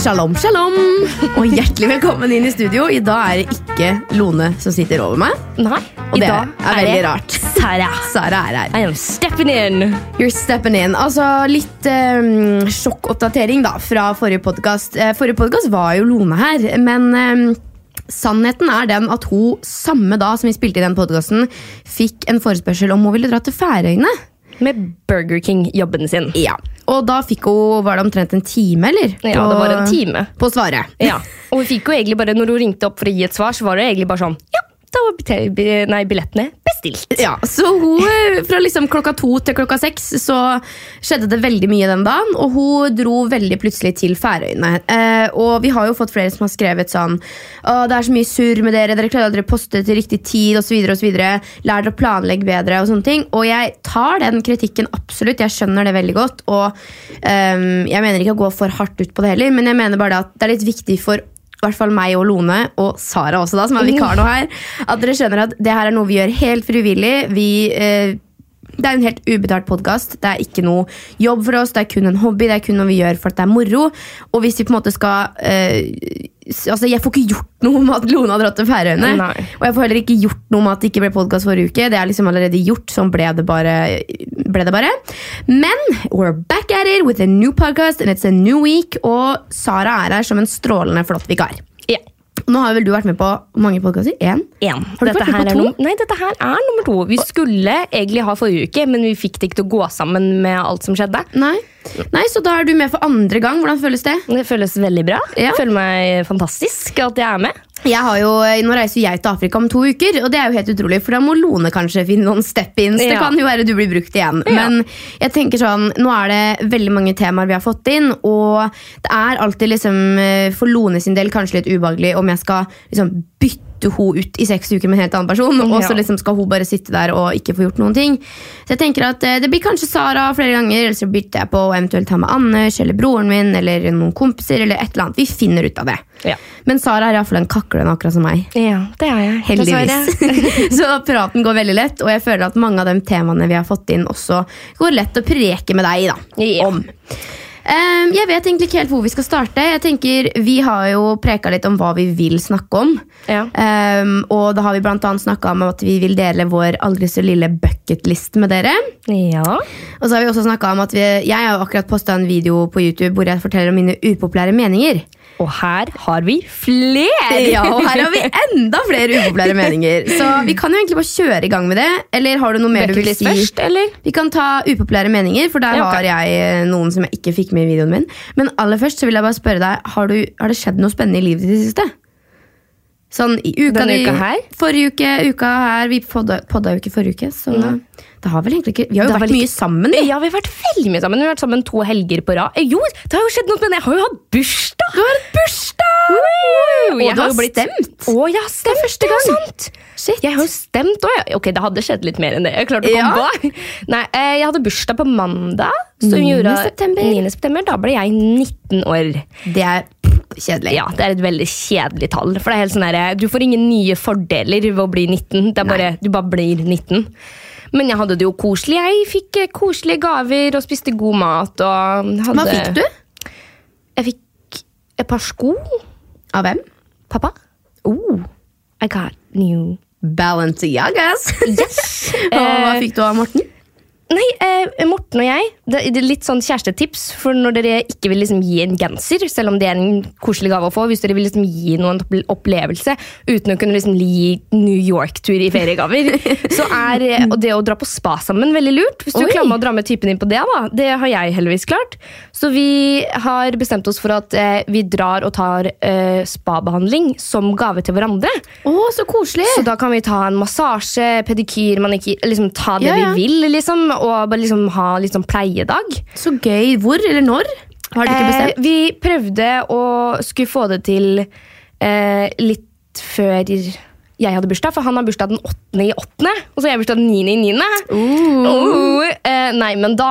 Shalom, shalom! Mm. Og hjertelig velkommen inn i studio. I dag er det ikke Lone som sitter over meg. Nei, Og i det dag er veldig rart. Sara. Sara er her. I am stepping in. You're stepping in. Altså Litt eh, sjokkoppdatering da fra forrige podkast. forrige podkast var jo Lone her, men eh, sannheten er den at hun samme dag som vi spilte i den podkasten, fikk en forespørsel om hun ville dra til Færøyene. Med Burger King-jobben sin. Ja, Og da fikk hun Var det omtrent en time, eller? Ja, det var en time. På å svare. Ja, Og hun fikk jo egentlig bare, når hun ringte opp for å gi et svar, så var det egentlig bare sånn Ja, da var bite- bi- nei, billettene bestilt. Ja, så hun, eh, Fra liksom klokka to til klokka seks så skjedde det veldig mye den dagen. Og hun dro veldig plutselig til Færøyene. Eh, og vi har jo fått flere som har skrevet sånn Å, det er så mye surr med dere, dere klarer aldri å poste til riktig tid osv. Lær dere å planlegge bedre og sånne ting. Og jeg tar den kritikken absolutt, jeg skjønner det veldig godt. Og ehm, jeg mener ikke å gå for hardt ut på det heller, men jeg mener bare det at det er litt viktig for i hvert fall meg og Lone, og Sara også da, som er vikar nå her, at dere skjønner at det her er noe vi gjør helt frivillig. Vi, eh, det er en helt ubetalt podkast. Det er ikke noe jobb for oss, det er kun en hobby. Det er kun noe vi gjør for at det er moro. Og hvis vi på en måte skal eh, s- Altså, jeg får ikke gjort noe med at Lone har dratt til Færøyene. Nei. Og jeg får heller ikke gjort noe med at det ikke ble podkast forrige uke. Det er liksom allerede gjort, sånn ble det bare. Ble det bare. Men we're back at it with a new podcast, and it's a new week. Og Sara er her som en strålende flott vikar. Ja, Nå har vel du vært med på hvor mange podkaster? Én? en. Har du Dette vært med på her er to? num- Nei, dette her er nummer to. Vi skulle egentlig ha forrige uke, men vi fikk det ikke til å gå sammen med alt som skjedde. Nei. Nei, så da er du med for andre gang. Hvordan føles det? Det føles veldig bra. Ja. Jeg føler meg fantastisk at jeg er med. Jeg har jo, eh, nå reiser jeg til Afrika om to uker, og det er jo helt utrolig, for da må Lone kanskje finne noen step-ins. Det Ja. kan jo være du blir brukt igjen. Ja. Men jeg tenker sånn, nå er det veldig mange temaer vi har fått inn, og det er alltid liksom, eh, for Lone sin del kanskje litt ubehagelig om jeg skal liksom bytte hun ut i seks uker med en helt annen person, og så Ja. liksom skal hun bare sitte der og ikke få gjort noen ting. Så jeg tenker at eh, det blir kanskje Sara flere ganger, eller så bytter jeg på å eventuelt ta med Anders, eller broren min, eller noen kompiser, eller et eller annet. Vi finner ut av det. Ja. Men Sara er iallfall en kaklende, akkurat som meg. Ja, det er jeg. Heldigvis. så praten går veldig lett, og jeg føler at mange av de temaene vi har fått inn, også går lett å preke med deg da, Ja. om. Ehm, jeg vet egentlig ikke helt hvor vi skal starte. Jeg tenker, Vi har jo preka litt om hva vi vil snakke om. Ja. Ehm, og da har vi bl.a. snakka om at vi vil dele vår aldri så lille bucketlist med dere. Ja. Og så har vi også snakket om at vi, Jeg har jo akkurat posta en video på YouTube hvor jeg forteller om mine upopulære meninger. Og her har vi flere! Ja, og her har vi enda flere upopulære meninger. Så vi kan jo egentlig bare kjøre i gang med det. Eller har du noe mer du vil Bucketlist si? først, eller? Vi kan ta upopulære meninger, for der Ja, ok. har jeg eh, noen som jeg ikke fikk med i videoen min. Men aller først så vil jeg bare spørre deg, har, du, har det skjedd noe spennende i livet ditt i det siste? Sånn i uka Denne di- uka her? Forrige uke, uka her. Vi podda, podda jo ikke forrige uke, så det har vel egentlig ikke Vi har jo Det har vært vel mye sammen, vi. Ja, vi har vært veldig mye sammen. Vi har vært sammen to helger på rad. Eh, Jo, det har jo skjedd noe, men jeg har jo hatt bursdag! Du har hatt bursdag! Woo! Og Jeg du har jo blitt- stemt. Å, jeg har stemt, første det er gang. sant. Jeg har jo stemt òg. Ok, det hadde skjedd litt mer enn det. Jeg klarte å komme Ja. på. Nei, eh, jeg hadde bursdag på mandag. som 9. gjorde- september. 9. september. Da ble jeg 19 år. Det er kjedelig. Ja, det er et veldig kjedelig tall. For det er helt sånn der, Du får ingen nye fordeler ved å bli 19. Det er bare, du bare blir 19. Men jeg hadde det jo koselig. Jeg fikk eh, koselige gaver og spiste god mat. Og hadde, Hva fikk du? Jeg fikk et par sko. Av hvem? Pappa, Oh. I got new Balenciagas. Yes! Og hva Eh, fikk du av Morten? Nei, eh, Morten og jeg det det er Litt sånn kjærestetips For når dere ikke vil liksom gi en genser Selv om det er en koselig gave å få Hvis dere vil liksom gi noen opple- opplevelse Uten å kunne liksom gi New York-tur i feriegaver Så er eh, og det å dra på spa sammen veldig lurt Hvis du Oi. klammer å dra med typen din på det da Det har jeg heldigvis klart Så vi har bestemt oss for at eh, Vi drar og tar eh, spa-behandling Som gave til hverandre Å, så koselig! så da kan vi ta en massasje, pedikyr man ikke, liksom Ta det Ja, ja. vi vil, liksom, og bare liksom ha litt sånn pleiedag. Så gøy. Hvor eller når? Har du ikke Eh, bestemt? vi prøvde å skulle få det til eh, litt før jeg hadde bursdag, for han har bursdag den 8. i 8., og så har jeg bursdag den 9. i 9. Oh, eh, nei, men da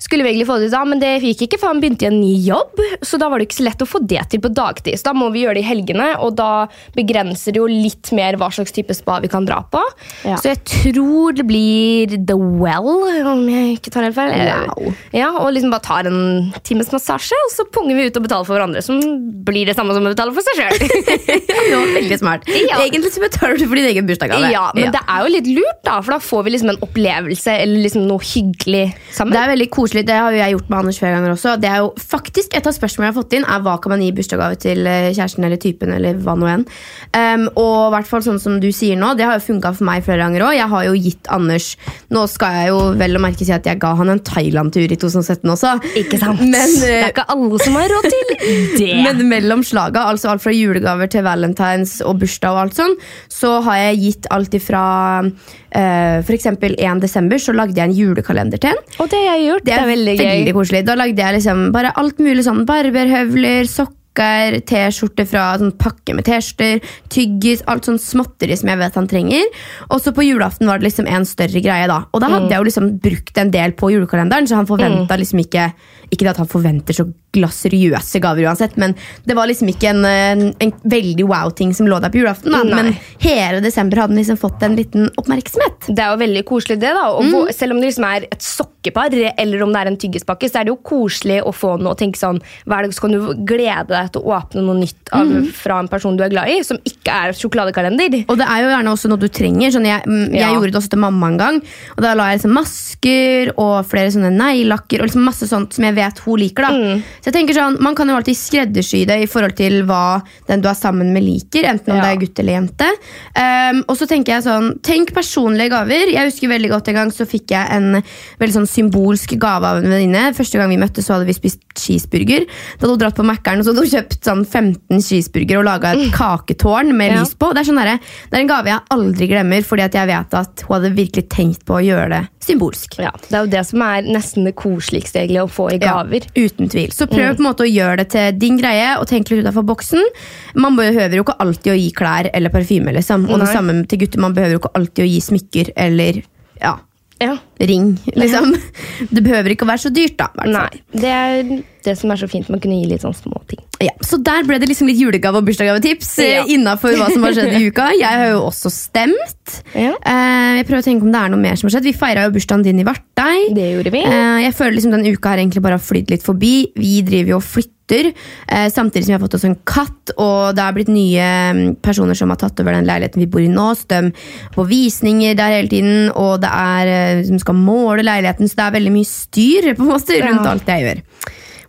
skulle vi egentlig få det ut da, men det gikk ikke, for han begynte i en ny jobb. Så da var det ikke så lett å få det til på dagtid. Så da må vi gjøre det i helgene, og da begrenser det jo litt mer hva slags type spa vi kan dra på. Ja. Så jeg tror det blir The Well, om jeg ikke tar helt feil. Eh, Wow. Ja, og liksom bare tar en times massasje, og så punger vi ut og betaler for hverandre, som blir det samme som å betale for seg sjøl. Det var Eh, veldig smart. Ja. Egentlig så betaler du for din egen bursdagsgave. ja, men det er jo litt lurt, da, for da får vi liksom en opplevelse eller liksom noe hyggelig sammen. Det er veldig koselig, det har jo jeg gjort med Anders flere ganger også. Det er jo faktisk Et av spørsmålene jeg har fått inn, er hva kan man gi i bursdagsgave til eh, kjæresten eller typen? eller hva nå enn. Um, og i hvert fall sånn som du sier nå, det har jo funka for meg flere ganger òg. Jeg har jo gitt Anders Nå skal jeg jo vel å merke si at jeg ga han en Thailand-tur i 2017 også. Ikke sant? Men, det eh, er ikke alle som har råd til det. Men mellom slaga, altså alt fra julegaver til valentines og bursdag og alt sånn, så har jeg gitt alt ifra eh, for eksempel 1. desember så lagde jeg en julekalender til en. og det jeg har gjort, Det er, veldig, koselig. Da lagde jeg liksom bare alt mulig sånn barberhøvler, sokker, T-skjorte fra sånn pakke med T-skjorter, tyggis, alt sånn småtteri som jeg vet han trenger. Og så på julaften var det liksom en større greie, da. Og da hadde jeg jo liksom brukt en del på julekalenderen, så han forventa liksom ikke Ikke det at han forventer så glasseriøse gaver uansett, men det var liksom ikke en, eh, en veldig wow-ting som lå der på julaften. Da. Nei. Men hele desember hadde han liksom fått en liten oppmerksomhet. Det er jo veldig koselig, det. da og Mm. hvor, Selv om det liksom er et sokkepar eller om det er en tyggispakke, så er det jo koselig å få noe og tenke sånn Hver dag så kan du glede deg til å åpne noe nytt av, Mm. fra en person du er glad i, som ikke er sjokoladekalender. Og det er jo gjerne også noe du trenger. Sånn jeg, mm, jeg Ja. gjorde det også til mamma en gang. Og da la jeg liksom masker og flere sånne neglelakker og liksom masse sånt som jeg vet hun liker. da. Mm. Så jeg tenker sånn, Man kan jo alltid skreddersy det i forhold til hva den du er sammen med, liker. Enten om Ja. det er gutt eller jente. Ehm, og så tenker jeg sånn, Tenk personlige gaver. Jeg husker veldig godt En gang så fikk jeg en veldig sånn symbolsk gave av en venninne. Første gang vi møttes, så hadde vi spist cheeseburger. Da hadde hun dratt på Mækkern og så hadde hun kjøpt sånn 15 cheeseburger og laga et kaketårn med Mm. Ja. lys på. Det er, sånn derre- det er en gave jeg aldri glemmer, fordi at jeg vet at hun hadde virkelig tenkt på å gjøre det symbolsk. Ja, Det er jo det som er nesten det koseligste egentlig, å få i gaver. Mm. Ja, uten tvil. Så prøv på en måte å gjøre det til din greie og tenk litt utenfor boksen. Man behøver jo ikke alltid å gi klær eller parfyme, liksom. Og det Nei. samme til gutter. Man behøver jo ikke alltid å gi smykker eller ja, Ja. ring, liksom. Det behøver ikke å være så dyrt, da. i hvert fall. Nei, Det er det som er så fint. Man kunne gi litt sånn småting. Ja, så der ble det liksom litt julegave- og bursdagsgavetips ja. Ja. innafor hva som har skjedd i uka. Jeg har jo også stemt. Ja. Eh, jeg prøver å tenke om det er noe mer som har skjedd. Vi feira jo bursdagen din i Varteig. Det gjorde vi. Eh, jeg føler liksom denne uka har egentlig bare har flydd litt forbi. Vi driver jo og flytter, eh, samtidig som vi har fått oss en katt. Og det er blitt nye mm, personer som har tatt over den leiligheten vi bor i nå. Så de på visninger der hele tiden, og det er eh, som skal måle leiligheten. Så det er veldig mye styr på en måte rundt Ja. alt det jeg gjør.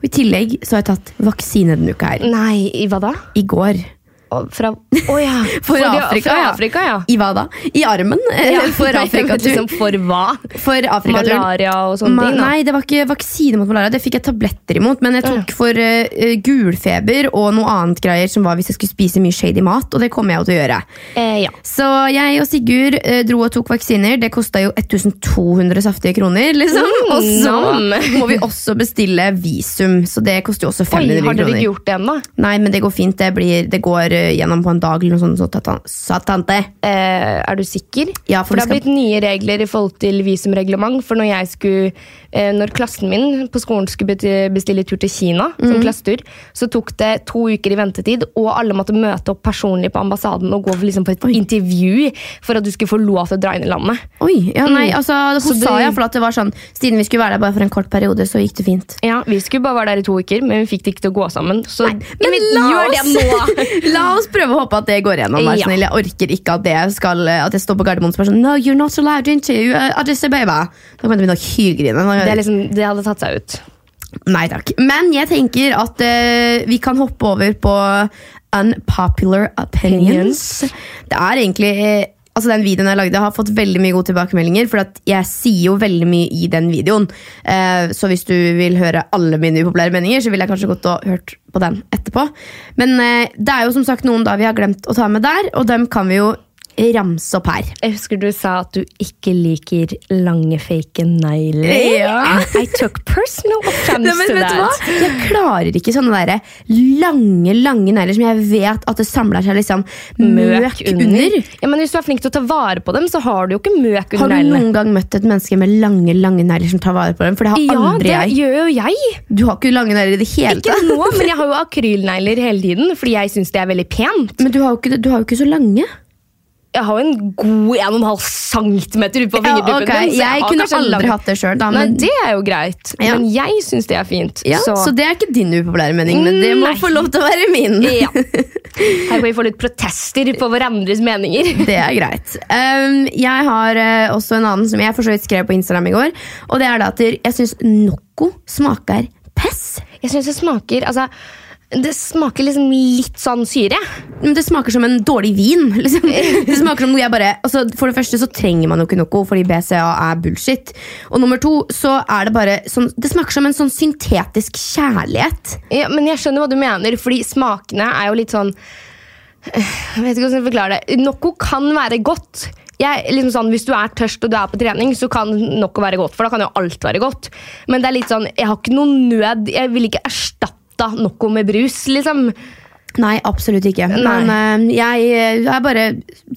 Og I tillegg så har jeg tatt vaksine denne uka her. Nei, i hva da? I går. Å, Fra, å ja. For de- Afrika, fra ja. Afrika, ja. I hva da? I armen? Ja, Eller for nei, Afrikatur? men Liksom for hva? For Afrikaturen. Malaria og sånne Ma- ting, da. Nei, det var ikke vaksine mot malaria. Det fikk jeg tabletter imot. Men jeg tok for eh, eh, gulfeber og noe annet greier som var hvis jeg skulle spise mye shady mat. Og det kommer jeg jo til å gjøre. Eh, ja. Så jeg og Sigurd eh, dro og tok vaksiner. Det kosta jo 1200 saftige kroner. liksom. Mm, og så nam. må vi også bestille visum, så det koster jo også Oi, 500 har dere kroner. ikke gjort det ennå? Nei, men det går fint. Det, blir, det går eh, gjennom på en dag eller noe sånt. Så ta- ta- sa tante. Eh, er du sikker? Ja, for for, det har vi skal- blitt nye regler i forhold til visumreglement. For når, jeg skulle, eh, når klassen min på skolen skulle beti- bestille tur til Kina, Mm. som klassetur, så tok det to uker i ventetid, og alle måtte møte opp personlig på ambassaden og gå for, liksom, på et intervju for at du skulle få lov til å dra inn i landet. Oi, ja nei, altså Hun Så det- sa iallfall at det var sånn siden vi skulle være der bare for en kort periode, så gikk det fint. Ja, Vi skulle bare være der i to uker, men vi fikk det ikke til å gå sammen. Så Men vi- la gjør oss, det nå! la oss prøve å håpe at det går gjennom. Vær Ja. snill, Jeg orker ikke at, det skal, at jeg står på Gardermoen og spør sånn No, you're not allowed into uh, Addis Abeba. Da kommer jeg til å begynne å hylgrine. Nå- Det, er liksom, det hadde tatt seg ut. Nei takk. Men jeg tenker at eh, vi kan hoppe over på unpopular opinions. Det er egentlig eh, Altså Den videoen jeg lagde, har fått veldig mye gode tilbakemeldinger. For at jeg sier jo veldig mye i den videoen. Eh, så hvis du vil høre alle mine upopulære meninger, så ville jeg kanskje gått og hørt på den etterpå. Men eh, det er jo som sagt noen da vi har glemt å ta med der, og dem kan vi jo ramse opp her. Jeg husker du sa at du ikke liker lange, fake negler. Ja. I took personal offense Nei, men to vet that. du hva? Jeg klarer ikke sånne der lange lange negler som jeg vet at det samler seg liksom møk under. Ja, men Hvis du er flink til å ta vare på dem, så har du jo ikke møk Har under du neglene. noen gang møtt et menneske med lange lange negler som tar vare på dem? For det har Ja, aldri det jeg. gjør jo jeg. Du har ikke lange negler i det hele Ikke tatt. nå, men jeg har jo akrylnegler hele tiden fordi jeg syns det er veldig pent. Men du har jo ikke, du har jo ikke så lange. Jeg har jo en god 1,5 cm ut på Ja, fingertuppen ok. min. så Jeg har kunne kanskje en aldri lang- hatt det sjøl. Nei, det er jo greit. Ja. Men jeg syns det er fint. Ja, så. så det er ikke din upopulære mening, men det må Nei. få lov til å være min. Ja. Her kan vi få litt protester på hverandres meninger. Det er greit. Um, jeg har eh, også en annen som jeg for så vidt skrev på Instagram i går. Og det er da at jeg syns Noco smaker pess. Jeg syns det smaker altså, Det smaker liksom litt sånn syre. Men det smaker som en dårlig vin. Liksom. Det smaker som noe jeg bare altså, For det første så trenger man jo ikke Noco, fordi BCA er bullshit. Og nummer to så er det bare sånn Det smaker som en sånn syntetisk kjærlighet. Ja, men jeg skjønner hva du mener, fordi smakene er jo litt sånn Jeg vet ikke hvordan jeg forklarer det. Noco kan være godt. Jeg, liksom sånn, hvis du er tørst og du er på trening, så kan Noco være godt. For da kan jo alt være godt. Men det er litt sånn, jeg har ikke noe nød. Jeg vil ikke erstatte Noco med brus, liksom. Nei, absolutt ikke. Nei. Men eh, jeg er bare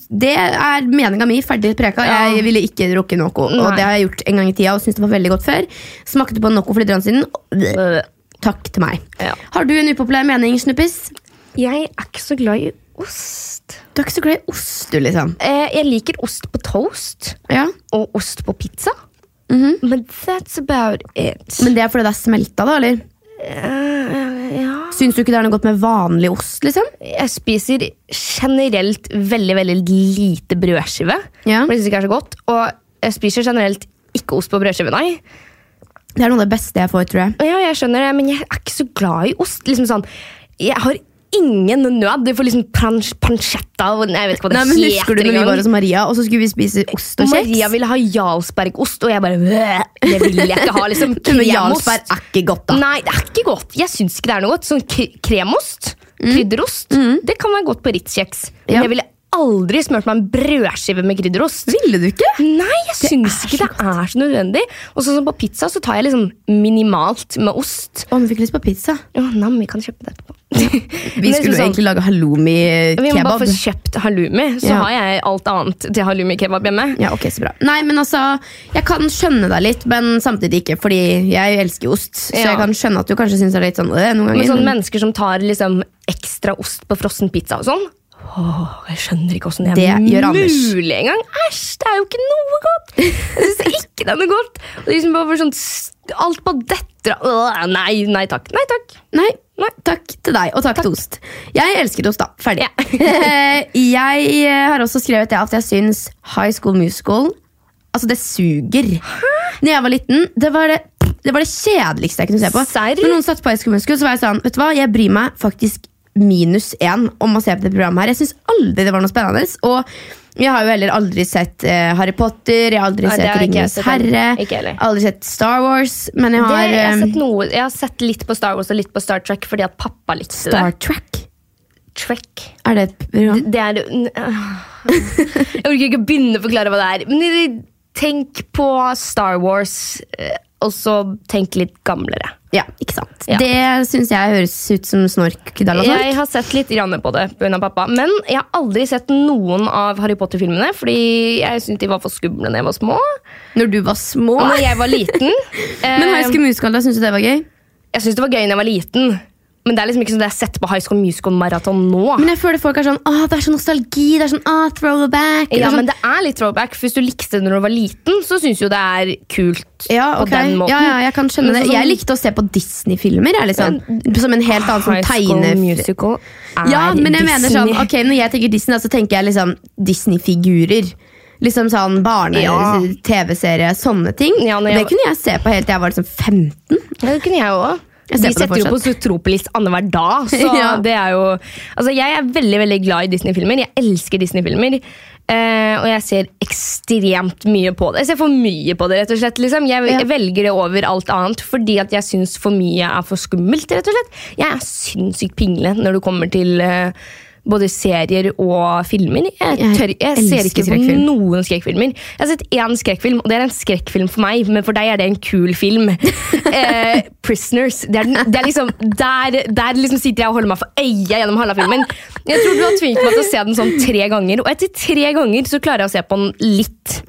Det er meninga mi. Ferdig preka. Ja. Jeg ville ikke drukke Noco. Og Nei. det har jeg gjort en gang i tida og syntes det var veldig godt før. Smakte på Noco for litt grann siden. Bleh. Takk til meg. Ja. Har du en upopulær mening, Snuppis? Jeg er ikke så glad i ost. Du er ikke så glad i ost, du, liksom. Eh, jeg liker ost på toast. Ja. og ost på pizza. Men that's about it. Mhm. Men det er fordi det er smelta, da? eller? Eh, ja. Syns du ikke det er noe godt med vanlig ost? liksom? Jeg spiser generelt veldig veldig lite brødskive. Ja. For det synes jeg ikke er så godt. Og jeg spiser generelt ikke ost på brødskive, nei. Det er noe av det beste jeg får, tror jeg. Ja, jeg skjønner det, men jeg er ikke så glad i ost. Liksom sånn, jeg har ingen nød for liksom pansj, pansjetta og jeg vet ikke hva det Nei, men heter Husker du når vi engang. var hos Maria, og så skulle vi spise ost og kjeks? Maria ville ha Jarlsbergost, og jeg bare "Bæ, Det vil jeg ikke ha. liksom Men Kremost. Jarlsberg er ikke godt, da. Nei, det er ikke godt. Jeg syns ikke det er noe godt. Sånn k- kremost, krydderost, det kan være godt på Ritz-kjeks. Men Mm. Ja. jeg ville aldri smurt meg en brødskive med krydderost. Ville du ikke? Nei, jeg syns er ikke så det er så nødvendig. Og sånn som på pizza, så tar jeg liksom minimalt med ost. Å, nå fikk jeg lyst på pizza. Å, nam, vi kan kjøpe det etterpå. Men Vi jeg skulle synes sånn, egentlig lage vi må bare halloumi-kebab. få kjøpt halloumi, så Ja. har jeg alt annet til halloumi-kebab hjemme. Ja, ok, så bra. Nei, men altså, Jeg kan skjønne deg litt, men samtidig ikke. Fordi jeg elsker jo ost, så Ja. jeg kan skjønne at du kanskje syns det er litt sånn øh, noen Men ganger. sånne men mennesker som tar liksom ekstra ost på frossen pizza og sånn Åh, jeg skjønner ikke hvordan det Det er gjør Anders. mulig engang. Æsj, det er jo ikke noe godt! Jeg syns ikke det er noe godt. Og det er liksom bare for sånn, s- alt bare detter av. Åh, Nei, nei takk. Nei takk. Nei, nei, takk til deg, og takk, til ost. Jeg elsket ost, da. Ferdig. Ja. jeg eh, har også skrevet det at jeg syns High School Musical Altså, det suger. Når jeg var liten, det var det, det, var det kjedeligste jeg kunne se på. Serr? Når noen satte på High School Musical, så var jeg sånn Vet du hva, jeg bryr meg faktisk minus én om å se på det programmet her. Jeg syns aldri det var noe spennende. Og jeg har jo heller aldri sett eh, Harry Potter, jeg har aldri Nei, det sett har ikke jeg Ringenes sett heller. herre, Ikke heller. aldri sett Star Wars, men jeg Det, har, jeg, har eh, sett noe, jeg har sett litt på Star Wars og litt på Star Trek fordi at pappa likte det. Star Trek. Trek. Er det et program? Det er n- øh. Jeg orker ikke å begynne å forklare hva det er. Men tenk på Star Wars, eh, og så tenk litt gamlere. Ja, ikke sant. Ja. Det syns jeg høres ut som snork. altså. Kudala snork. Jeg har sett litt grann på det pga. pappa. Men jeg har aldri sett noen av Harry Potter-filmene, fordi jeg syntes de var for skumle da jeg var små. Når du var små. Og når jeg var liten eh, Men High School Musical, da syns du det var gøy? Jeg syns det var gøy da jeg var liten, men det er liksom ikke sånn at jeg har sett på High School Musical-maraton nå. Men jeg føler folk er sånn Åh, det er sånn nostalgi. Det er sånn ah, throwback. ja, sånn, men det er litt throwback. for Hvis du likte det når du var liten, så syns jo det er kult ja, ok. på den måten. Ja, ja, jeg kan skjønne Men det. sånn som- Jeg likte å se på Disney-filmer. jeg, Liksom. Som en helt annen sånn High School tegne... Musical er Ja, men jeg mener sånn, Disney. ok, Når jeg tenker Disney, da, så tenker jeg liksom Disney-figurer. Liksom sånn Ja. barne-TV-serie, sånne ting. Ja, Og når det jeg- kunne jeg se på helt til jeg var liksom 15. Det kunne jeg òg. Jeg De ser på det setter jo på fortsatt. Zootropolis annenhver dag. Så Ja. det er jo Altså, jeg er veldig veldig glad i Disney-filmer. Jeg elsker Disney-filmer. eh, og jeg ser ekstremt mye på det. Jeg ser for mye på det, rett og slett. Liksom. Jeg, Ja. jeg velger det over alt annet fordi at jeg syns for mye er for skummelt. rett og slett. Jeg er sinnssykt pingle når det kommer til eh, både serier og filmer. Jeg, Jeg tør, jeg ser elsker ikke på skrekkfilm. noen skrekkfilmer. Jeg har sett én skrekkfilm, og det er en skrekkfilm for meg, men for deg er det en kul film. eh, Prisoners. Det er, den- det er liksom, der, der liksom sitter jeg og holder meg for øya gjennom halve filmen. Jeg tror du har tvinget meg til å se den sånn tre ganger, og etter tre ganger så klarer jeg å se på den litt.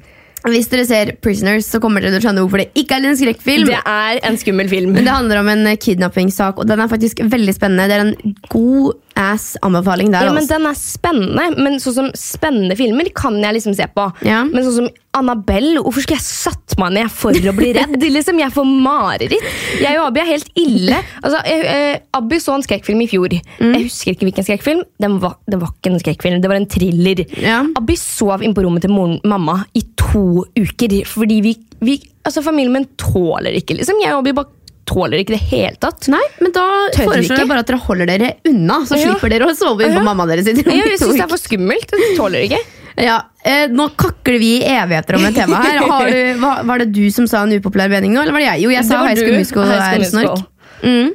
Hvis dere ser Prisoners, så kommer dere til å skjønne hvorfor det ikke er en skrekkfilm. Det er en skummel film. Men Det handler om en eh, kidnappingssak, og den er faktisk veldig spennende. Det er en god ass anbefaling der. Ja, men altså. Den er spennende, men sånn som spennende filmer kan jeg liksom se på. Ja. Men sånn som Annabelle, hvorfor skulle jeg satt meg ned for å bli redd? liksom, Jeg får mareritt. Jeg og Abby er helt ille. Altså, jeg, eh, Abby så en skrekkfilm i fjor. Mm. Jeg husker ikke hvilken skrekkfilm. Den var, det var ikke en skrekkfilm, det var en thriller. Ja. Abby sov inne på rommet til moren, mamma i to uker. Fordi vi, vi altså Familien min tåler ikke. liksom. Jeg og Abby bare tåler ikke det hele tatt. Nei, men da Tør dere foreslår ikke? jeg bare at dere holder dere unna, så Ja. slipper dere å sove inne Ja. på mamma deres sitt rom. Jeg, i jeg to syns det uker. er for skummelt. Jeg tåler det ikke. Ja, eh, Nå kakler vi i evigheter om et tema her. Har du, hva, var det du som sa en upopulær mening nå, eller var det jeg? Jo, jeg Det sa var High du. School Musical High School er Musical. snork. Mm.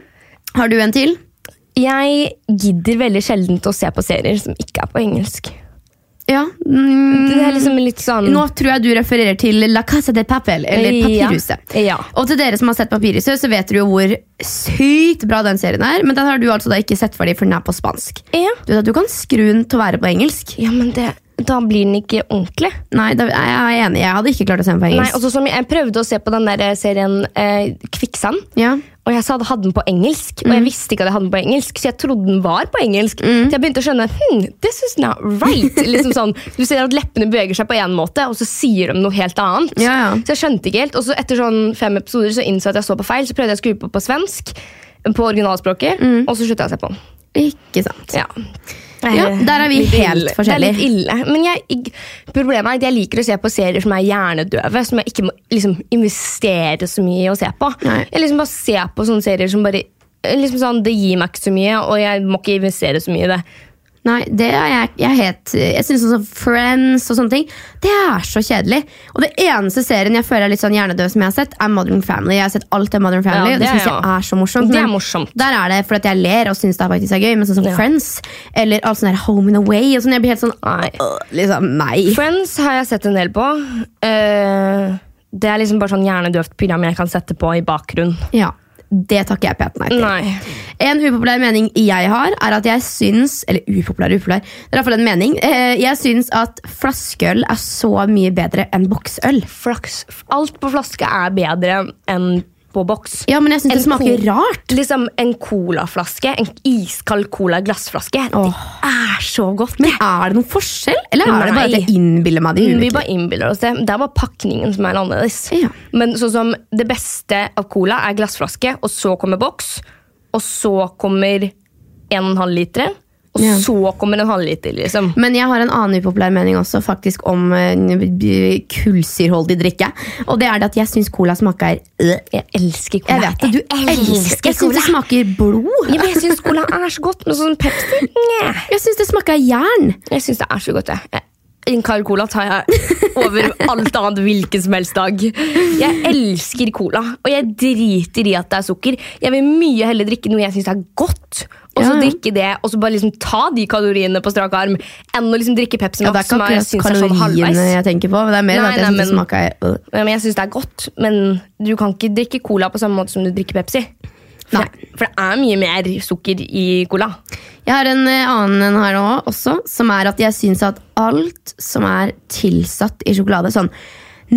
Har du en til? Jeg gidder veldig sjelden å se på serier som ikke er på engelsk. Ja. Mm. Det er liksom litt sånn Nå tror jeg du refererer til La Casa de Papel, eller Ja. Papirhuset. Ja. Og til dere som har sett Papirhuset, så vet dere jo hvor sykt bra den serien er. Men den har du altså da ikke sett ferdig, for den er på spansk. Ja. Du vet at du kan skru den til å være på engelsk. ja, men det, da blir den ikke ordentlig. Nei, da, jeg er enig. Jeg hadde ikke klart å se den på Nei, engelsk. også som Jeg jeg prøvde å se på den der serien eh, Kvikksand. ja. Og jeg sa det hadde den på engelsk, Mm. og jeg visste ikke at jeg hadde den på engelsk, så jeg trodde den var på engelsk. Så jeg begynte å skjønne hm, this is not right. liksom sånn, du ser at leppene beveger seg på én måte, og så sier de noe helt annet. Ja, ja. Så jeg skjønte ikke helt, og så etter sånn fem episoder så innså jeg at jeg så på feil, så prøvde jeg å skru på på svensk, på originalspråket, Mm. og så slutta jeg å se på den. Ikke sant. Ja. Ja, der er vi Litt helt ille. forskjellige. Det er litt ille. Men jeg, jeg- problemet er at jeg liker å se på serier som er hjernedøve, som jeg ikke må liksom, investere så mye i å se på. Nei. Jeg liksom bare ser på sånne serier som bare liksom sånn, Det gir meg ikke så mye, og jeg må ikke investere så mye i det. Nei, det er jeg, jeg het Jeg synes sånn som Friends og sånne ting Det er så kjedelig Og det eneste serien jeg føler er litt sånn hjernedød som jeg har sett Er Modern Family Jeg har sett alt av Modern Family Ja, Og det det synes er jo- jeg er så morsomt Det er men morsomt. Der er det fordi at jeg ler og synes det faktisk er gøy Men sånn som Ja. Friends Eller alt sånn der Home and Away og sånn, Jeg blir helt sånn Nei. «Åh», liksom, Nei Friends har jeg sett en del på. Eh, det er liksom bare sånn hjernedøvt program jeg kan sette på i bakgrunnen. Ja, det takker jeg pet nei til Nei. En upopulær mening jeg har, er at jeg syns Eller upopulær, upopulær. Det er i hvert fall en mening. Eh, Jeg syns at flaskeøl er så mye bedre enn boksøl. Flaks, alt på flaske er bedre enn på boks. Ja, men jeg syns En det smaker cola- rart. Liksom En colaflaske, en iskald cola-glassflaske. Åh. Det er så godt. Men er det noen forskjell, Mm, eller er det bare at Nei. jeg innbiller meg det? i vi huet? bare innbiller oss det. Det er bare pakningen som er annerledes. Ja. Men sånn som det beste av cola er glassflaske, og så kommer boks, og så kommer en og en halv liter, og Ja. så kommer en halv liter, liksom. Men jeg har en annen upopulær mening også faktisk om eh, b- kullsyrholdig drikke. Og det er det at jeg syns cola smaker øh. Jeg elsker Jeg cola. vet det, du elsker Jeg syns det smaker blod. Ja, men jeg syns cola er så godt, men sånn Pepsi Nye. Jeg syns det smaker jern. Jeg syns det er så godt, jeg. jeg. En kald cola tar jeg over alt annet hvilken som helst dag. Jeg elsker cola, og jeg driter i at det er sukker. Jeg vil mye heller drikke noe jeg syns er godt, og Ja, så ja. drikke det, og så bare liksom ta de kaloriene på strak arm, enn å liksom drikke Pepsi Ja, det er Max, ikke akkurat som jeg syns er sånn halvveis. kaloriene jeg tenker på, men det er mer Nei, at jeg nei, syns det men- smaker øh. Ja, Men jeg syns det er godt, men du kan ikke drikke cola på samme måte som du drikker Pepsi. For, Nei. det, for det er mye mer sukker i cola. Jeg har en eh, annen en her nå også, som er at jeg syns at alt som er tilsatt i sjokolade, sånn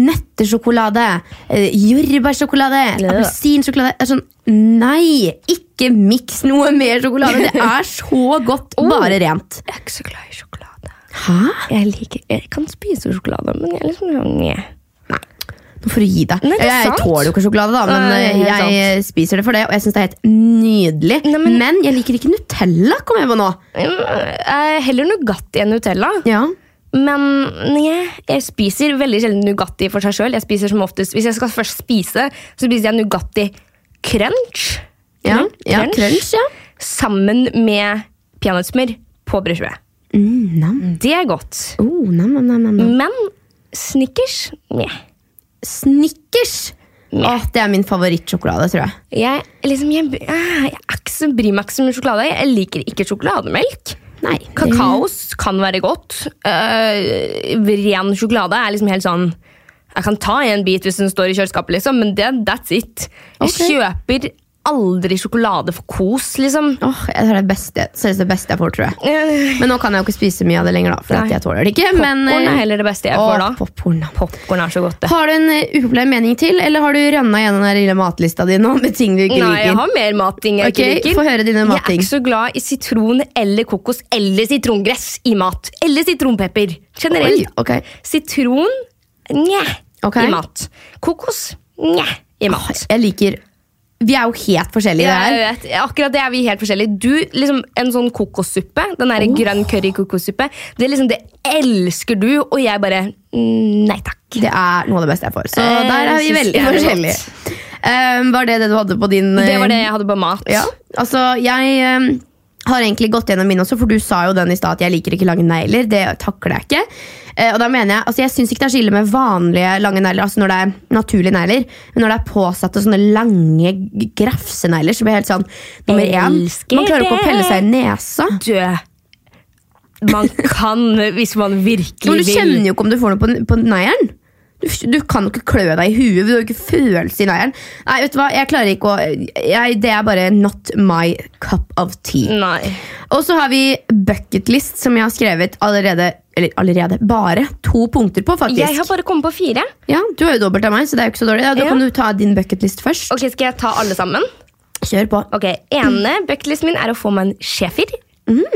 nøttesjokolade, eh, jordbærsjokolade, Blø. appelsinsjokolade det er sånn, Nei! Ikke miks noe mer sjokolade! Det er så godt, Oh. bare rent. Jeg er ikke så glad i sjokolade. Hæ? Jeg, liker, jeg kan spise sjokolade, men jeg er liksom Nei. Nå får du gi deg. Nei, det er jeg sant. tåler jo ikke sjokolade, da, men eh, Nei, det er jeg helt eh, spiser det for det, og jeg syns det er helt nydelig. Nei, men... men- jeg liker ikke Nutella, kom jeg på nå. Eh, Heller Nugatti enn Nutella. Ja. Men nei, jeg spiser veldig sjelden Nugatti for seg sjøl. Hvis jeg skal først spise, så spiser jeg Nugatti crunch. Ja, Crunch. ja, crunch, ja. Sammen med peanøttsmør på brødskive. Mm, nam. Det er godt. Oh, nam, nam, nam, nam, nam. Men Snickers nei. Snickers! Åh, det er min favorittsjokolade, tror jeg. ah, Jeg, liksom, jeg, jeg, er ikke så bryr meg ikke så mye om sjokolade. Jeg liker ikke sjokolademelk. Nei. Kakaos kan være godt. Eh, ren sjokolade er liksom helt sånn Jeg kan ta en bit hvis den står i kjøleskapet, liksom, men det, that's it. Jeg Ok. kjøper aldri sjokolade for kos, liksom. Åh, jeg tror det er det beste, seriøst det beste jeg får, tror jeg. Eh, Men nå kan jeg jo ikke spise mye av det lenger, da, for Nei. at jeg tåler det ikke. Men, Popcorn er eh, heller det beste jeg åh, får da. popcorn, da. Popcorn er så godt, det. Har du en eh, upopulær mening til, eller har du rønna gjennom den her lille matlista di nå med ting du ikke Nei, jeg liker? har mer matting jeg Ok, ikke liker. få høre dine Jeg er matting. ikke så glad i sitron eller kokos eller sitrongress i mat. Eller sitronpepper. Generelt. Oi, ok. Sitron njeh Ok. i mat. Kokos njeh i mat. Jeg liker Vi er jo helt forskjellige Jeg der. vet, akkurat det er vi helt forskjellige. Du, liksom En sånn kokossuppe, den der grønn curry-kokossuppe, det er liksom, det elsker du, og jeg bare mm, Nei takk. Det er noe av det beste jeg får. Så Eh, der er vi synes veldig jeg er godt. forskjellige. Eh, var det det du hadde på din eh, Det var det jeg hadde på mat. Ja, altså jeg eh, har egentlig gått gjennom mine også, for du sa jo den i stad at jeg liker ikke lange negler. Det takler jeg ikke. Eh, og da mener Jeg altså jeg syns ikke det er så ille med vanlige lange negler, altså når det er naturlige negler. Men når det er påsatte sånne lange g- grafsenegler, så blir jeg helt sånn Nummer én, Elsker man klarer ikke å det. pelle seg i nesa. Dø. Man kan, hvis man Men virkelig du vil. kjenner jo ikke om du får noe på, på neglen. Du, du kan jo ikke klø deg i huet. Du har jo ikke følelse i neglen. Nei, vet du hva, jeg klarer ikke å jeg, Det er bare not my cup of tea. Nei. Og så har vi bucketlist, som jeg har skrevet allerede Eller allerede, bare to punkter på, faktisk. Jeg har bare kommet på fire. Ja, Du har jo dobbelt av meg, så det er jo ikke så dårlig. Ja, da Ja. kan du ta din bucketlist først. Ok, Skal jeg ta alle sammen? Kjør på. Ok, Ene Mm. bucketlisten min er å få meg en schæfer.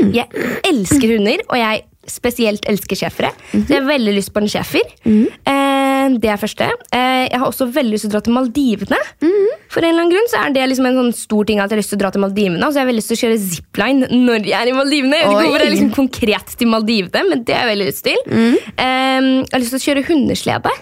Jeg elsker hunder, og jeg spesielt elsker schæfere. Så Mm-hmm. jeg har veldig lyst på en schæfer. Eh, det er første. Eh, jeg har også veldig lyst til å dra til Maldivene. Mm-hmm. For en eller annen grunn så er det liksom en sånn stor ting at jeg har lyst til å dra til Maldivene. Og så har jeg veldig lyst til å kjøre zipline når jeg er i Maldivene. Jeg vet ikke Oi. Mm-hmm. hvorfor jeg liksom konkret til Maldivene, men det har jeg veldig lyst til. Eh, jeg har lyst til å kjøre hundeslede.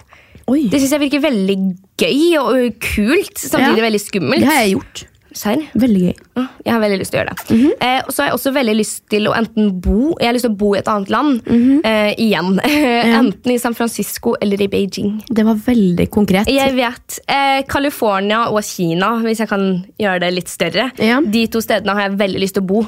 Oi. Det syns jeg virker veldig gøy og ø, kult, samtidig Ja. veldig skummelt. Det har jeg gjort. Serr? Veldig gøy. Ja, Jeg har veldig lyst til å gjøre det. eh, og så har jeg også veldig lyst til å enten bo Jeg har lyst til å bo i et annet land eh, igjen. enten i San Francisco eller i Beijing. Det var veldig konkret. Jeg vet. eh, California og Kina, hvis jeg kan gjøre det litt større. Ja. De to stedene har jeg veldig lyst til å bo.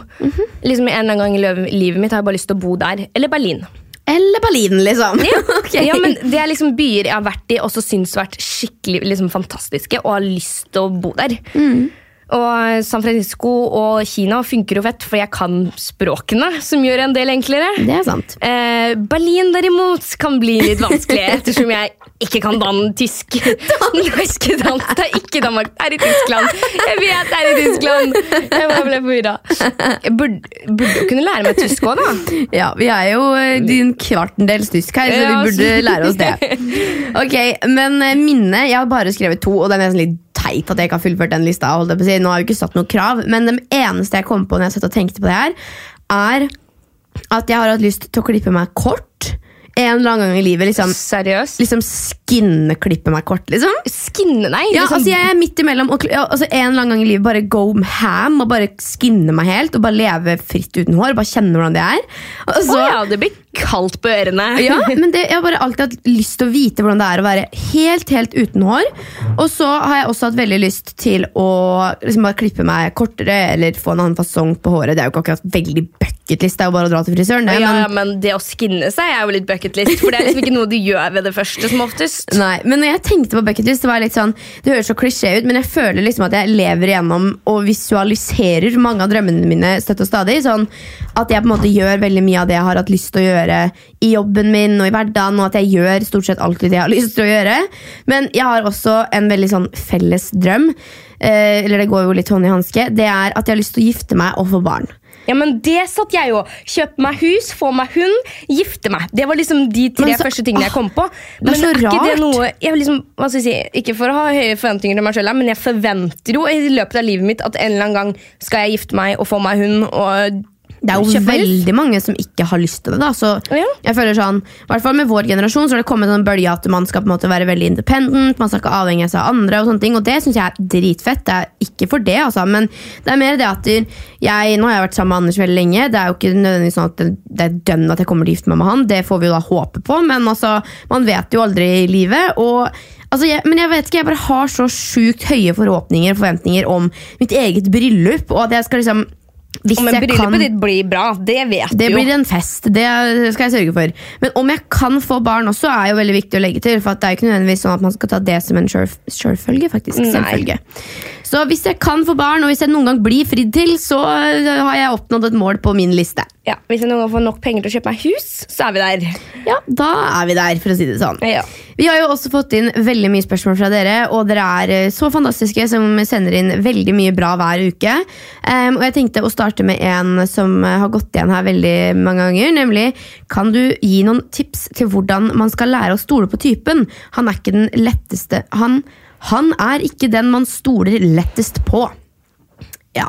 Liksom En eller annen gang i løv- livet mitt har jeg bare lyst til å bo der. Eller Berlin. Eller Berlin, liksom. Ja. Ok. ja, men Det er liksom byer jeg har vært i og så syns vært skikkelig liksom, fantastiske og har lyst til å bo der. Mm. Og San Francisco og Kina funker jo fett, for jeg kan språkene, som gjør en del enklere. Det er sant. Eh, Berlin derimot kan bli litt vanskelig, ettersom jeg ikke kan danne tysk. Dansk dans, det er ikke Danmark, det er i Tyskland. Jeg vet det er i Tyskland! Jeg bare ble forvirra. Jeg burde, burde jo kunne lære meg tysk òg, da. Ja, Vi er jo eh, din kvartendels tysk her, så vi Ja, burde altså. lære oss det. Ok, Men eh, minne Jeg har bare skrevet to, og det er nesten litt teit at jeg ikke har fullført den lista. Holdt jeg på å si. Nå har jeg jo ikke satt noe krav, men det eneste jeg kom på når jeg satt og tenkte på det her, er at jeg har hatt lyst til å klippe meg kort en eller annen gang i livet. Liksom, Seriøst? liksom skinne-klippe meg kort, liksom. Skinne deg? Ja, liksom- altså Jeg er midt imellom. Og, kl- ja, altså en eller annen gang i livet bare go ham og bare skinne meg helt. Og bare leve fritt uten hår. Bare kjenne hvordan det er. Og Å så, ja, det blir kaldt på ørene. ja, men det, Jeg har bare alltid hatt lyst til å vite hvordan det er å være helt helt uten hår. Og så har jeg også hatt veldig lyst til å liksom bare klippe meg kortere eller få en annen fasong på håret. Det er jo ikke akkurat veldig bucketlist, det er jo bare å dra til frisøren. Ja, Det, ja, men, men det å skinne seg er jo litt bucketlist, for det er liksom ikke noe du gjør ved det første. som oftest. Nei, men når jeg tenkte på bucketlist, det var jeg litt sånn Det høres så klisjé ut, men jeg føler liksom at jeg lever igjennom og visualiserer mange av drømmene mine støtt og stadig. Sånn at jeg på en måte gjør veldig mye av det jeg har hatt lyst til å gjøre i jobben min og i hverdagen, og at jeg gjør stort sett alltid det jeg har lyst til å gjøre. Men jeg har også en veldig sånn felles drøm, eh, eller det går jo litt hånd i hanske, det er at jeg har lyst til å gifte meg og få barn. Ja, men Det satt jeg jo. Kjøpe meg hus, få meg hund, gifte meg. Det var liksom de tre Men så- første tingene jeg kom på. det er så ikke det rart. noe jeg vil liksom, hva skal jeg si, Ikke for å ha høye forventninger til meg selv, men jeg forventer jo i løpet av livet mitt at en eller annen gang skal jeg gifte meg og få meg hund. og... Det er jo kjøpe meg hus. veldig mange som ikke har lyst til det. da Så Ja. jeg føler sånn, i hvert fall Med vår generasjon så har det kommet en bølge at man skal på en måte være veldig independent. Man skal ikke avhenge seg av andre. Og sånne ting Og det syns jeg er dritfett. Det er ikke for det, altså men det er mer det at jeg, Nå har jeg vært sammen med Anders veldig lenge. Det er jo ikke nødvendigvis sånn at det, det er dønn at jeg kommer til å gifte meg med han. Det får vi jo da håpe på, men altså man vet jo aldri i livet. Og Altså, jeg, men jeg vet ikke, jeg bare har så sjukt høye forhåpninger og forventninger om mitt eget bryllup. Og at jeg skal liksom Hvis Om jeg bryllupet kan ditt blir bra, det vet Det du jo. blir en fest, det skal jeg sørge for. Men om jeg kan få barn også, er jo veldig viktig å legge til. For at det er jo ikke nødvendigvis sånn at man skal ta det som en sjølf- sjølfølge. faktisk, Nei. selvfølge. Så hvis jeg kan få barn, og hvis jeg noen gang blir fridd til, så øh, har jeg oppnådd et mål på min liste. Ja, hvis jeg noen gang får nok penger til å kjøpe meg hus, så er vi der. Ja, Da er vi der, for å si det sånn. Ja. Vi har jo også fått inn veldig mye spørsmål fra dere, og dere er eh, så fantastiske som sender inn veldig mye bra hver uke. Em, og jeg tenkte å starte med en som eh, har gått igjen her veldig mange ganger, nemlig kan du gi noen tips til hvordan man skal lære å stole på typen? Han er ikke den letteste Han, han er ikke den man stoler lettest på. Ja.